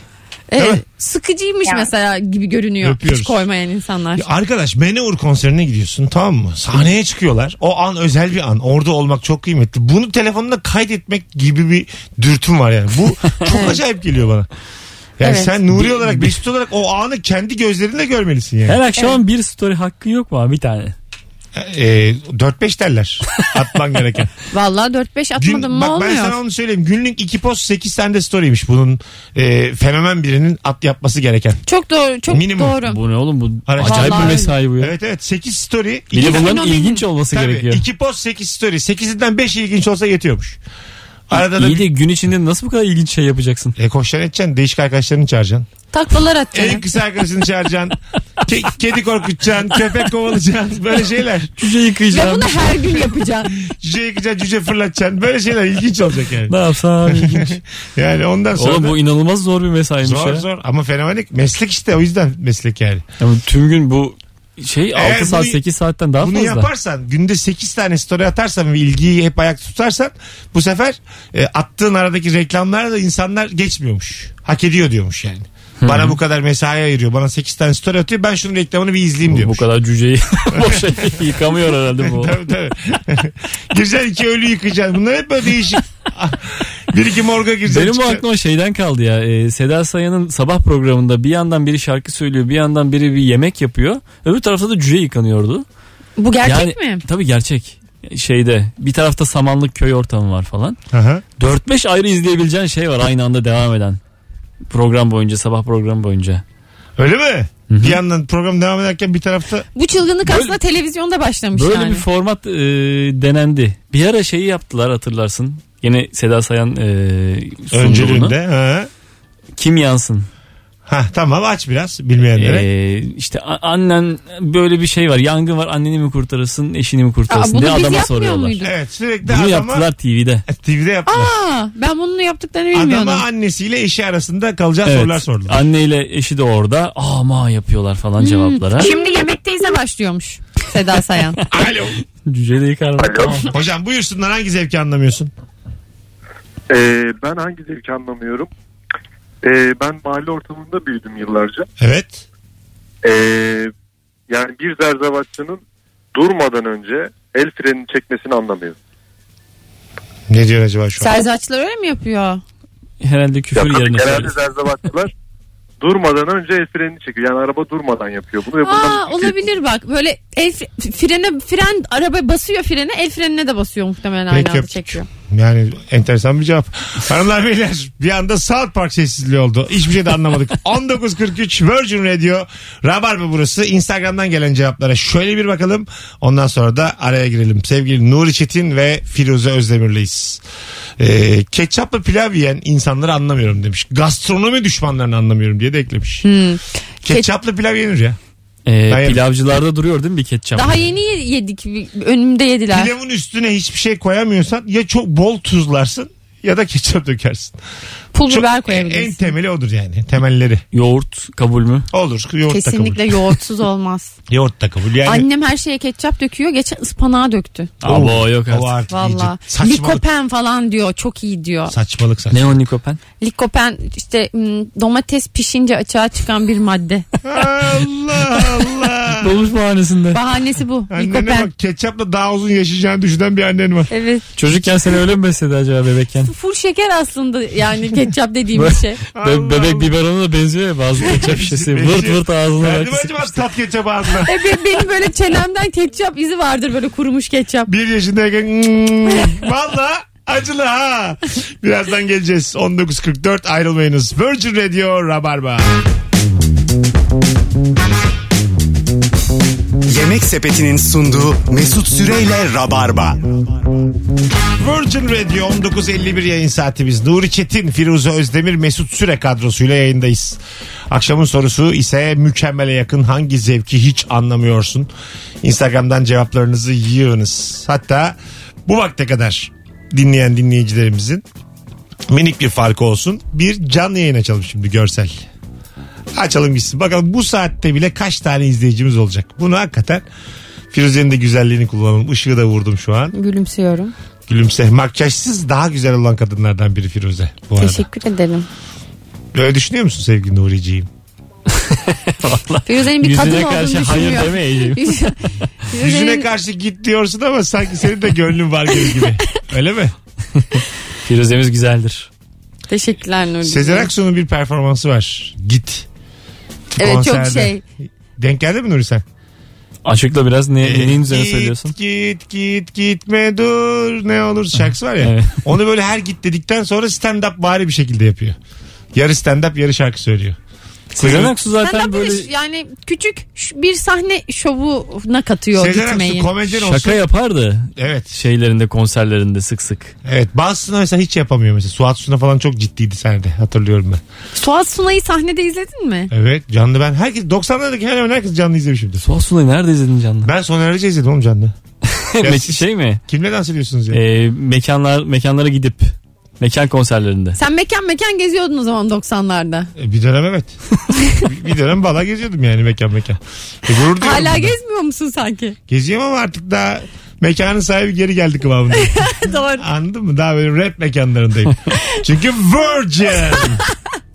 Speaker 3: Evet,
Speaker 2: Değil mi?
Speaker 3: Ee, sıkıcıymış
Speaker 7: Yani.
Speaker 3: mesela gibi görünüyor.
Speaker 2: Öpüyoruz.
Speaker 3: Hiç koymayan insanlar.
Speaker 2: Ya arkadaş Meneur konserine gidiyorsun tamam mı? Sahneye çıkıyorlar. O an özel bir an. Orada olmak çok kıymetli. Bunu telefonunda kaydetmek gibi bir dürtüm var yani. Bu çok acayip geliyor bana. Yani
Speaker 3: Evet.
Speaker 2: sen Nuri olarak, Mesut olarak o anı kendi gözlerinle görmelisin yani.
Speaker 4: Her akşam bir story hakkın yok mu abi? bir tane?
Speaker 2: Ee, 4-5 derler atman gereken.
Speaker 3: Vallahi 4-5
Speaker 2: Gün,
Speaker 3: atmadım
Speaker 2: bak
Speaker 3: mı olmuyor.
Speaker 2: ben sana onu söyleyeyim. Günlük 2 post 8 tane de storymiş bunun e, fenomen birinin at yapması gereken.
Speaker 3: Çok doğru, çok
Speaker 2: Minimum.
Speaker 3: doğru.
Speaker 4: Bu ne oğlum bu
Speaker 2: Araştırma.
Speaker 4: acayip bir
Speaker 3: Vallahi
Speaker 4: mesai bu ya.
Speaker 2: Evet evet 8 story.
Speaker 4: Bir de
Speaker 3: İki
Speaker 4: bunların
Speaker 3: fenomenin-
Speaker 4: ilginç olması
Speaker 2: Tabii,
Speaker 4: gerekiyor.
Speaker 2: iki post 8 story. 8'inden 5 ilginç olsa yetiyormuş. Arada da
Speaker 4: İyi de gün içinde nasıl bu kadar ilginç şey yapacaksın?
Speaker 2: e, koşacaksın edeceksin. Değişik arkadaşlarını çağıracaksın.
Speaker 3: Taklalar
Speaker 2: En
Speaker 3: atacaksın.
Speaker 2: kısa arkadaşını çağıracaksın. Ke- kedi korkutacaksın. Köpek kovalayacaksın. Böyle şeyler.
Speaker 4: Cüce
Speaker 3: Ve
Speaker 4: yıkayacağım.
Speaker 3: bunu her gün yapacağım.
Speaker 2: Cüce yıkacaksın. Cüce fırlatacaksın. Böyle şeyler ilginç olacak yani.
Speaker 4: Ne yapsam abi ilginç.
Speaker 2: Yani ondan sonra
Speaker 4: Oğlum bu inanılmaz zor bir mesaimiş
Speaker 2: zor
Speaker 4: ya.
Speaker 2: zor. Ama fenomenik. Meslek işte. O yüzden meslek yani.
Speaker 4: Ama tüm gün bu şey
Speaker 2: Eğer
Speaker 4: 6 saat
Speaker 2: bunu-
Speaker 4: 8 saatten daha
Speaker 2: Bunu
Speaker 4: fazla.
Speaker 2: yaparsan günde 8 tane story atarsan ve ilgiyi hep ayakta tutarsan bu sefer e, attığın aradaki reklamlara da insanlar geçmiyormuş. Hak ediyor diyormuş yani. Bana bu kadar mesai ayırıyor. Bana 8 tane story atıyor. Ben şunun reklamını bir izleyeyim
Speaker 4: Bu, bu
Speaker 2: diyormuş.
Speaker 4: kadar cüceyi boşa yıkamıyor herhalde bu.
Speaker 2: Tabii tabii. gireceksin iki ölü yıkacaksın. Bunlar hep böyle değişik. bir iki morga gireceksin.
Speaker 4: Benim bu
Speaker 2: çıkacaksın.
Speaker 4: aklıma şeyden kaldı ya. e, Seda Sayan'ın sabah programında bir yandan biri şarkı söylüyor, bir yandan biri bir yemek yapıyor. Öbür tarafta da cüce yıkanıyordu.
Speaker 3: Bu gerçek
Speaker 4: yani,
Speaker 3: mi?
Speaker 4: Tabii gerçek. Şeyde bir tarafta samanlık köy ortamı var falan.
Speaker 2: Aha.
Speaker 4: 4-5 ayrı izleyebileceğin şey var aynı anda devam eden. Program boyunca, sabah programı boyunca.
Speaker 2: Öyle mi? Bir yandan program devam ederken bir tarafta
Speaker 3: Bu çılgınlık
Speaker 4: Böyle-
Speaker 3: aslında televizyonda başlamış
Speaker 4: Böyle
Speaker 3: yani.
Speaker 4: bir format e, denendi. Bir ara şeyi yaptılar hatırlarsın. Yine Seda Sayan e, sundu bunu.
Speaker 2: öncülüğünde. Ha.
Speaker 4: Kim yansın?
Speaker 2: Ha tamam aç biraz bilmeyenlere.
Speaker 4: Ee, işte a- annen böyle bir şey var yangın var anneni mi kurtarırsın eşini mi
Speaker 3: Aa,
Speaker 4: kurtarırsın
Speaker 3: bunu
Speaker 4: diye
Speaker 3: biz
Speaker 4: adama
Speaker 3: yapmıyor
Speaker 4: soruyorlar.
Speaker 3: muyduk?
Speaker 2: evet sürekli
Speaker 4: Bunu
Speaker 2: adama
Speaker 4: yaptılar TV'de.
Speaker 2: TV'de yaptılar.
Speaker 3: Aa, ben bunun yaptıklarını bilmiyordum.
Speaker 2: Adama annesiyle eşi arasında kalacağı sorular
Speaker 4: Evet.
Speaker 2: sordular.
Speaker 4: Anneyle eşi de orada ama yapıyorlar
Speaker 3: Hmm.
Speaker 4: falan cevaplara.
Speaker 3: Şimdi yemekteyse başlıyormuş Seda Sayan.
Speaker 2: Alo.
Speaker 4: Cüce de yıkar bak.
Speaker 5: Alo.
Speaker 2: Hocam buyursunlar hangi zevki anlamıyorsun?
Speaker 5: Ee, ben hangi zevki anlamıyorum. Ee, ben mahalle ortamında büyüdüm yıllarca.
Speaker 2: Evet.
Speaker 5: Ee, yani bir zerzavatçının durmadan önce el frenini çekmesini anlamıyorum.
Speaker 2: Ne diyor acaba şu an?
Speaker 3: Serzaçlar öyle mi yapıyor?
Speaker 4: Herhalde
Speaker 5: Ya
Speaker 4: küfür
Speaker 5: tabii
Speaker 4: yerine
Speaker 5: genelde
Speaker 4: söylüyor.
Speaker 5: zerzavatçılar durmadan önce el frenini çekiyor. Yani araba durmadan yapıyor bunu. Ve
Speaker 3: Aa,
Speaker 5: bundan
Speaker 3: olabilir bak böyle el fre- frene fren araba basıyor frene el frenine de basıyor muhtemelen aynı
Speaker 2: Peki,
Speaker 3: anda
Speaker 2: öptük.
Speaker 3: çekiyor.
Speaker 2: Yani enteresan bir cevap. Hanımlar beyler bir anda South Park sessizliği oldu. Hiçbir şey de anlamadık. 19.43 Virgin Radio Rabarba burası. Instagram'dan gelen cevaplara şöyle bir bakalım. Ondan sonra da araya girelim. Sevgili Nuri Çetin ve Firuze Özdemir'leyiz. Ee, ketçapla pilav yiyen insanları anlamıyorum demiş. Gastronomi düşmanlarını anlamıyorum diye de eklemiş. Ketçapla pilav yenir ya.
Speaker 4: Ee,
Speaker 2: Hayır.
Speaker 4: pilavcılarda duruyor değil mi bir ketçap?
Speaker 3: Daha yeni ye- yedik bir- önümde yediler.
Speaker 2: Pilavın üstüne hiçbir şey koyamıyorsan ya çok bol tuzlarsın ya da ketçap dökersin.
Speaker 3: Pul
Speaker 2: Çok- e,
Speaker 3: biber
Speaker 2: En
Speaker 3: koyabiliriz.
Speaker 2: temeli odur yani. Temelleri.
Speaker 4: Yoğurt kabul mü?
Speaker 2: Olur. Yoğurt da
Speaker 3: Kesinlikle yoğurtsuz olmaz.
Speaker 2: kabul. Yoğurt da kabul. Yani
Speaker 3: Annem her şeye ketçap döküyor. Geçen ıspanağa döktü.
Speaker 4: Abo yok
Speaker 2: o
Speaker 4: artık.
Speaker 2: artık
Speaker 3: Valla.
Speaker 2: iyice Saçmalık.
Speaker 3: Likopen falan diyor. Çok iyi diyor.
Speaker 2: Saçmalık saçmalık.
Speaker 4: Ne o Nikopen?
Speaker 3: Likopen işte hmm, domates pişince açığa çıkan bir madde.
Speaker 2: Allah Allah.
Speaker 4: Dolmuş bahanesinde.
Speaker 3: Bahanesi bu.
Speaker 2: Annene
Speaker 3: Likopen.
Speaker 2: bak ketçapla daha uzun yaşayacağını düşünen bir annen var.
Speaker 3: Evet.
Speaker 4: Çocukken seni öyle mi besledi acaba bebekken?
Speaker 3: Full şeker aslında yani ketçap dediğimiz şey.
Speaker 2: Allah
Speaker 4: Be- bebek
Speaker 2: Allah.
Speaker 4: biberona da benziyor ya bazı ketçap şişesi. şey Vırt vırt ağzına
Speaker 2: Verdi mi acaba
Speaker 4: belki sıkmıştı.
Speaker 2: tat ketçap ağzına?
Speaker 3: E, be- benim böyle çenemden ketçap izi vardır böyle kurumuş ketçap.
Speaker 2: Bir yaşındayken "Mm, valla acılı ha. Birazdan geleceğiz. 19.44 ayrılmayınız. Virgin Radio Rabarba.
Speaker 1: Yemek Sepeti'nin sunduğu Mesut Süreyle Rabarba.
Speaker 2: Virgin Radio 19.51 yayın saatimiz. Nuri Çetin, Firuze Özdemir, Mesut Süre kadrosuyla yayındayız. Akşamın sorusu ise mükemmele yakın hangi zevki hiç anlamıyorsun? Instagram'dan cevaplarınızı yığınız. Hatta bu vakte kadar dinleyen dinleyicilerimizin minik bir farkı olsun. Bir canlı yayın açalım şimdi görsel. Açalım gitsin. Bakalım bu saatte bile kaç tane izleyicimiz olacak? Bunu hakikaten Firuze'nin de güzelliğini kullanalım. Işığı da vurdum şu an.
Speaker 3: Gülümsüyorum.
Speaker 2: Gülümse. Makyajsız daha güzel olan kadınlardan biri Firuze bu arada.
Speaker 3: Teşekkür ederim.
Speaker 2: Böyle düşünüyor musun sevgili Nuriciğim?
Speaker 3: Firuze'nin bir kadın
Speaker 4: Yüzüne
Speaker 3: olduğunu
Speaker 4: karşı
Speaker 3: düşünüyor.
Speaker 4: hayır demeyeceğim.
Speaker 3: Yüzüne-
Speaker 2: Yüzüne
Speaker 3: Firuze'nin-
Speaker 2: karşı git diyorsun ama sanki senin de gönlün var gibi gibi. Öyle mi?
Speaker 4: Firuzemiz güzeldir.
Speaker 3: Teşekkürler Nurgül.
Speaker 2: Sezen Aksu'nun bir performansı var. Git.
Speaker 3: Evet çok
Speaker 2: Konserde.
Speaker 3: şey.
Speaker 2: Denk geldi mi Nuri sen?
Speaker 4: Açıkla biraz ne,
Speaker 2: Ee,
Speaker 4: neyin E, üzerine
Speaker 2: Git,
Speaker 4: söylüyorsun?
Speaker 2: Git git gitme dur ne olur şarkısı var ya.
Speaker 4: Evet.
Speaker 2: Onu böyle her git dedikten sonra stand up bari bir şekilde yapıyor. Yarı stand up yarı şarkı söylüyor.
Speaker 4: Sezen Aksu
Speaker 3: Sen
Speaker 4: zaten
Speaker 3: böyle...
Speaker 4: böyle
Speaker 3: yani küçük ş- bir sahne şovuna katıyor
Speaker 2: Sezen Aksu
Speaker 3: gitmeyi.
Speaker 2: komedyen olsun.
Speaker 4: şaka yapardı
Speaker 2: Evet.
Speaker 4: şeylerinde konserlerinde sık sık.
Speaker 2: Evet bazısını mesela hiç yapamıyor mesela. Suat Suna falan çok ciddiydi sahnede hatırlıyorum ben.
Speaker 3: Suat Sunay'ı sahnede izledin mi?
Speaker 2: Evet canlı ben herkes 90'lardaki hemen hemen herkes canlı izlemişimdir.
Speaker 4: Suat Sunay nerede izledin canlı?
Speaker 2: Ben Soner Arıcı izledim oğlum canlı.
Speaker 4: Me-
Speaker 2: siz-
Speaker 4: şey mi?
Speaker 2: Kimle dans ediyorsunuz ya?
Speaker 4: Ee, mekanlar mekanlara gidip mekan konserlerinde.
Speaker 3: Sen mekan mekan geziyordun o zaman 90'larda.
Speaker 2: E, Bir dönem evet. bir bir dönem bala geziyordum yani mekan mekan. E, gurur duyuyorum
Speaker 3: Hala
Speaker 2: bundan.
Speaker 3: gezmiyor musun sanki?
Speaker 2: Geziyorum ama artık daha mekanın sahibi geri geldi kıvamında.
Speaker 3: Doğru.
Speaker 2: Anladın mı? Daha böyle rap mekanlarındayım. Çünkü virgin.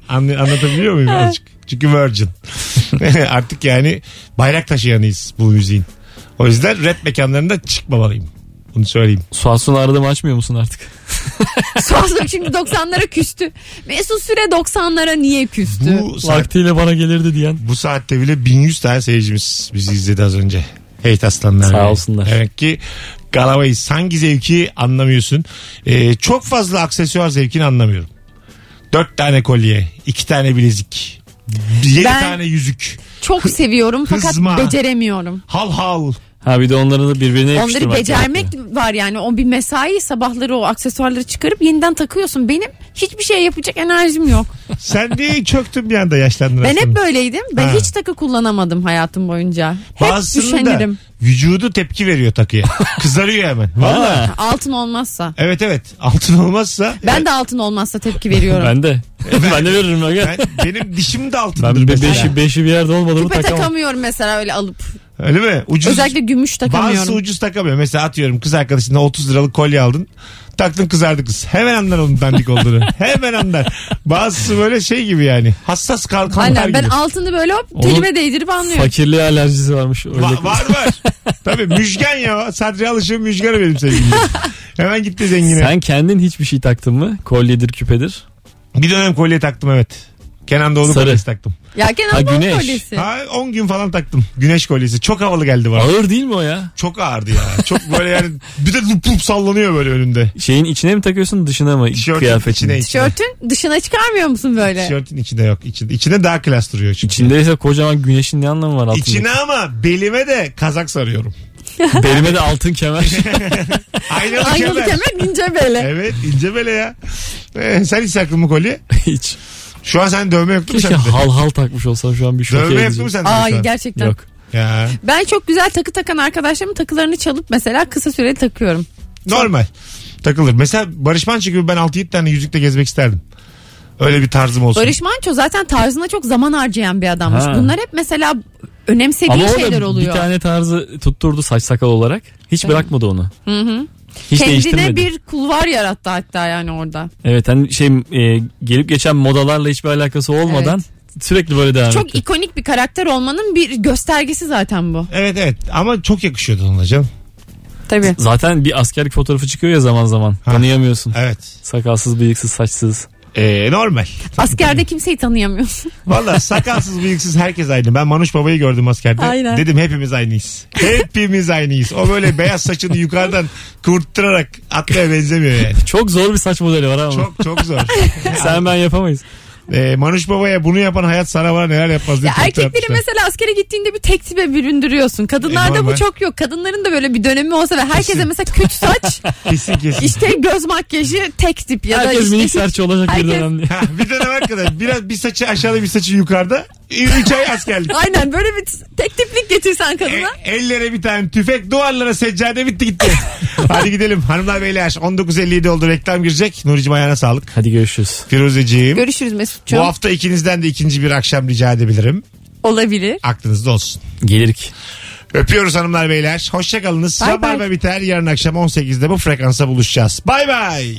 Speaker 2: Anlı- anlatabiliyor muyum azıcık? Çünkü virgin. Artık yani bayrak taşıyanıyız bu müziğin. O yüzden rap mekanlarında çıkmamalıyım. Bunu söyleyeyim.
Speaker 4: Suat Sunay aradım açmıyor musun artık?
Speaker 3: Suat Sunay çünkü 90'lara küstü. Mesut Süre 90'lara niye küstü?
Speaker 2: Bu, saat,
Speaker 4: Vaktiyle bana gelirdi diyen.
Speaker 2: bu saatte bile 1100 tane seyircimiz bizi izledi az önce. Heyt aslanlar.
Speaker 4: Sağ olsunlar.
Speaker 2: Demek ki Galabayız. Hangi zevki anlamıyorsun? Ee, çok fazla aksesuar zevkini anlamıyorum. Dört tane kolye, iki tane bilezik, yedi
Speaker 3: Ben-
Speaker 2: tane yüzük.
Speaker 3: Çok seviyorum fakat
Speaker 2: Kızma.
Speaker 3: beceremiyorum.
Speaker 2: Hal hal.
Speaker 4: Ha bir de onları da birbirine yapıştırmak.
Speaker 3: Onları becermek
Speaker 4: gerekiyor.
Speaker 3: var yani. O bir mesai sabahları o aksesuarları çıkarıp yeniden takıyorsun. Benim Hiçbir şey yapacak enerjim yok.
Speaker 2: Sen niye çöktün bir anda yaşlandın
Speaker 3: Ben
Speaker 2: aslında?
Speaker 3: hep böyleydim. Ben
Speaker 2: Ha.
Speaker 3: hiç takı kullanamadım hayatım boyunca. Hep
Speaker 2: Bazısının da
Speaker 3: üşenirim.
Speaker 2: vücudu tepki veriyor takıya. Kızarıyor hemen. Valla.
Speaker 4: Valla.
Speaker 3: Altın olmazsa.
Speaker 2: Evet evet. Altın olmazsa.
Speaker 3: Ben de altın olmazsa tepki veriyorum.
Speaker 4: Ben de. ben de veririm. Ben,
Speaker 2: Ben- benim dişim de altındır.
Speaker 4: ben bir
Speaker 2: mesela.
Speaker 4: beşi, beşi bir yerde olmadı mı
Speaker 3: Küpe
Speaker 4: takamam.
Speaker 3: takamıyorum mesela öyle alıp.
Speaker 2: Öyle mi? Ucuz.
Speaker 3: Özellikle gümüş takamıyorum.
Speaker 2: Bazısı ucuz takamıyor. Mesela atıyorum kız arkadaşına 30 liralık kolye aldın. Taktın kızardı kız. Hemen anlar onun dandik olduğunu. Hemen anlar. Bazısı böyle şey gibi yani. Hassas kalkanlar
Speaker 3: Aynen ben
Speaker 2: gibi.
Speaker 3: altını böyle hop
Speaker 4: Onun
Speaker 3: telime değdirip anlıyorum.
Speaker 4: Fakirliğe alerjisi varmış. Öyle.
Speaker 2: Va- var var. Tabii müjgan ya. Sadri Alış'ın müjganı benim sevgilim. Hemen gitti zengine.
Speaker 4: Sen kendin hiçbir şey taktın mı? Kolyedir, küpedir.
Speaker 2: Bir dönem kolye taktım evet. Kenan Doğulu
Speaker 4: Sarı.
Speaker 2: kolyesi taktım.
Speaker 3: Ya
Speaker 4: Ha,
Speaker 3: Kenan Doğulu
Speaker 4: güneş.
Speaker 3: kolyesi.
Speaker 2: Ha 10 gün falan taktım. Güneş kolyesi. Çok havalı geldi bana.
Speaker 4: Ağır değil mi o ya?
Speaker 2: Çok ağırdı ya. Çok böyle yani bir de lup lup sallanıyor böyle önünde.
Speaker 4: Şeyin içine mi takıyorsun dışına mı?
Speaker 2: Tişörtün
Speaker 4: Kıyafetin.
Speaker 2: içine
Speaker 4: içinde
Speaker 3: Tişörtün dışına çıkarmıyor musun böyle?
Speaker 2: Tişörtün içinde yok. İçinde, içinde daha klas duruyor çünkü.
Speaker 4: İçindeyse kocaman güneşin ne anlamı var altında?
Speaker 2: İçine ama belime de kazak sarıyorum.
Speaker 4: Belime de altın kemer.
Speaker 2: Aynalı,
Speaker 3: Aynalı
Speaker 2: kemer.
Speaker 3: kemer ince böyle.
Speaker 2: Evet ince bele ya. Ee, sen hiç taktın mı kolye?
Speaker 4: Hiç.
Speaker 2: Şu an sen dövme yoktu mu
Speaker 4: Keşke
Speaker 2: sende?
Speaker 4: hal hal takmış olsam şu an bir şok
Speaker 2: Dövme yoktu mu sende?
Speaker 3: Ay
Speaker 2: şu an?
Speaker 3: gerçekten.
Speaker 4: Yok.
Speaker 2: Ya.
Speaker 3: Ben çok güzel takı takan arkadaşlarımın takılarını çalıp mesela kısa süreli takıyorum.
Speaker 4: Şey-
Speaker 2: Normal. Takılır. Mesela Barış Manço gibi ben 6-7 tane yüzükle gezmek isterdim. Öyle bir tarzım olsun.
Speaker 3: Barış Manço zaten tarzına çok zaman harcayan bir adammış.
Speaker 4: Ha.
Speaker 3: Bunlar hep mesela önemsediği
Speaker 4: Ama
Speaker 3: şeyler
Speaker 4: orada bir
Speaker 3: oluyor.
Speaker 4: tane tarzı tutturdu saç sakal olarak. Hiç bırakmadı onu.
Speaker 3: Hı hı.
Speaker 4: Hiç
Speaker 3: Kendine
Speaker 4: değiştirmedi.
Speaker 3: bir kulvar yarattı hatta yani orada.
Speaker 4: Evet hani şey e, gelip geçen modalarla hiçbir alakası olmadan sürekli böyle devam
Speaker 3: Çok
Speaker 4: etti.
Speaker 3: ikonik bir karakter olmanın bir göstergesi zaten bu.
Speaker 2: Evet evet ama çok yakışıyordu ona canım.
Speaker 3: Tabii.
Speaker 4: Zaten bir askerlik fotoğrafı çıkıyor ya zaman zaman.
Speaker 2: Ha.
Speaker 4: Tanıyamıyorsun.
Speaker 2: Evet.
Speaker 4: Sakalsız, bıyıksız, saçsız.
Speaker 2: Ee, normal.
Speaker 3: Askerde kimseyi tanıyamıyorsun.
Speaker 2: Valla sakalsız bıyıksız herkes aynı. Ben Manuş Baba'yı gördüm askerde.
Speaker 3: Aynen.
Speaker 2: Dedim hepimiz aynıyız. Hepimiz aynıyız. O böyle beyaz saçını yukarıdan kurtturarak atlaya benzemiyor yani.
Speaker 4: Çok zor bir saç modeli var ama.
Speaker 2: Çok çok zor.
Speaker 4: Sen ben yapamayız.
Speaker 2: Ee, Manuş Baba'ya bunu yapan hayat sana bana neler yapmaz diye
Speaker 3: Ya
Speaker 2: tweet
Speaker 3: erkekleri
Speaker 2: atmışlar.
Speaker 3: mesela askere gittiğinde bir tek tipe büründürüyorsun.
Speaker 2: E,
Speaker 3: Kadınlarda
Speaker 2: normal.
Speaker 3: bu çok yok. Kadınların da böyle bir dönemi olsa ve herkese
Speaker 2: Kesin.
Speaker 3: mesela küt saç,
Speaker 2: Kesin kesin.
Speaker 3: işte göz makyajı tek tip ya da
Speaker 4: Herkes
Speaker 3: işte
Speaker 4: minik serçe olacak bir
Speaker 3: Herkes-
Speaker 4: dönem diye.
Speaker 2: Ha, bir dönem arkadaş biraz bir saçı aşağıda bir saçı yukarıda. Üç ay askerlik.
Speaker 3: Aynen böyle bir tek tiplik getirsen
Speaker 2: E,
Speaker 3: kadına.
Speaker 2: ellere bir tane tüfek duvarlara seccade bitti gitti. Hadi gidelim hanımlar beyler 19.57 oldu reklam girecek. Nuri'cim ayağına sağlık.
Speaker 4: Hadi görüşürüz.
Speaker 2: Firuzeciğim.
Speaker 3: Görüşürüz
Speaker 2: Bu
Speaker 3: Mesut'cuğum.
Speaker 2: hafta ikinizden de ikinci bir akşam rica edebilirim.
Speaker 3: Olabilir.
Speaker 2: Aklınızda olsun.
Speaker 4: Gelirik.
Speaker 2: Öpüyoruz hanımlar beyler. Hoşçakalınız.
Speaker 3: Bay bay.
Speaker 2: Rabarba biter. Yarın akşam 18'de bu frekansa buluşacağız. Bay bay.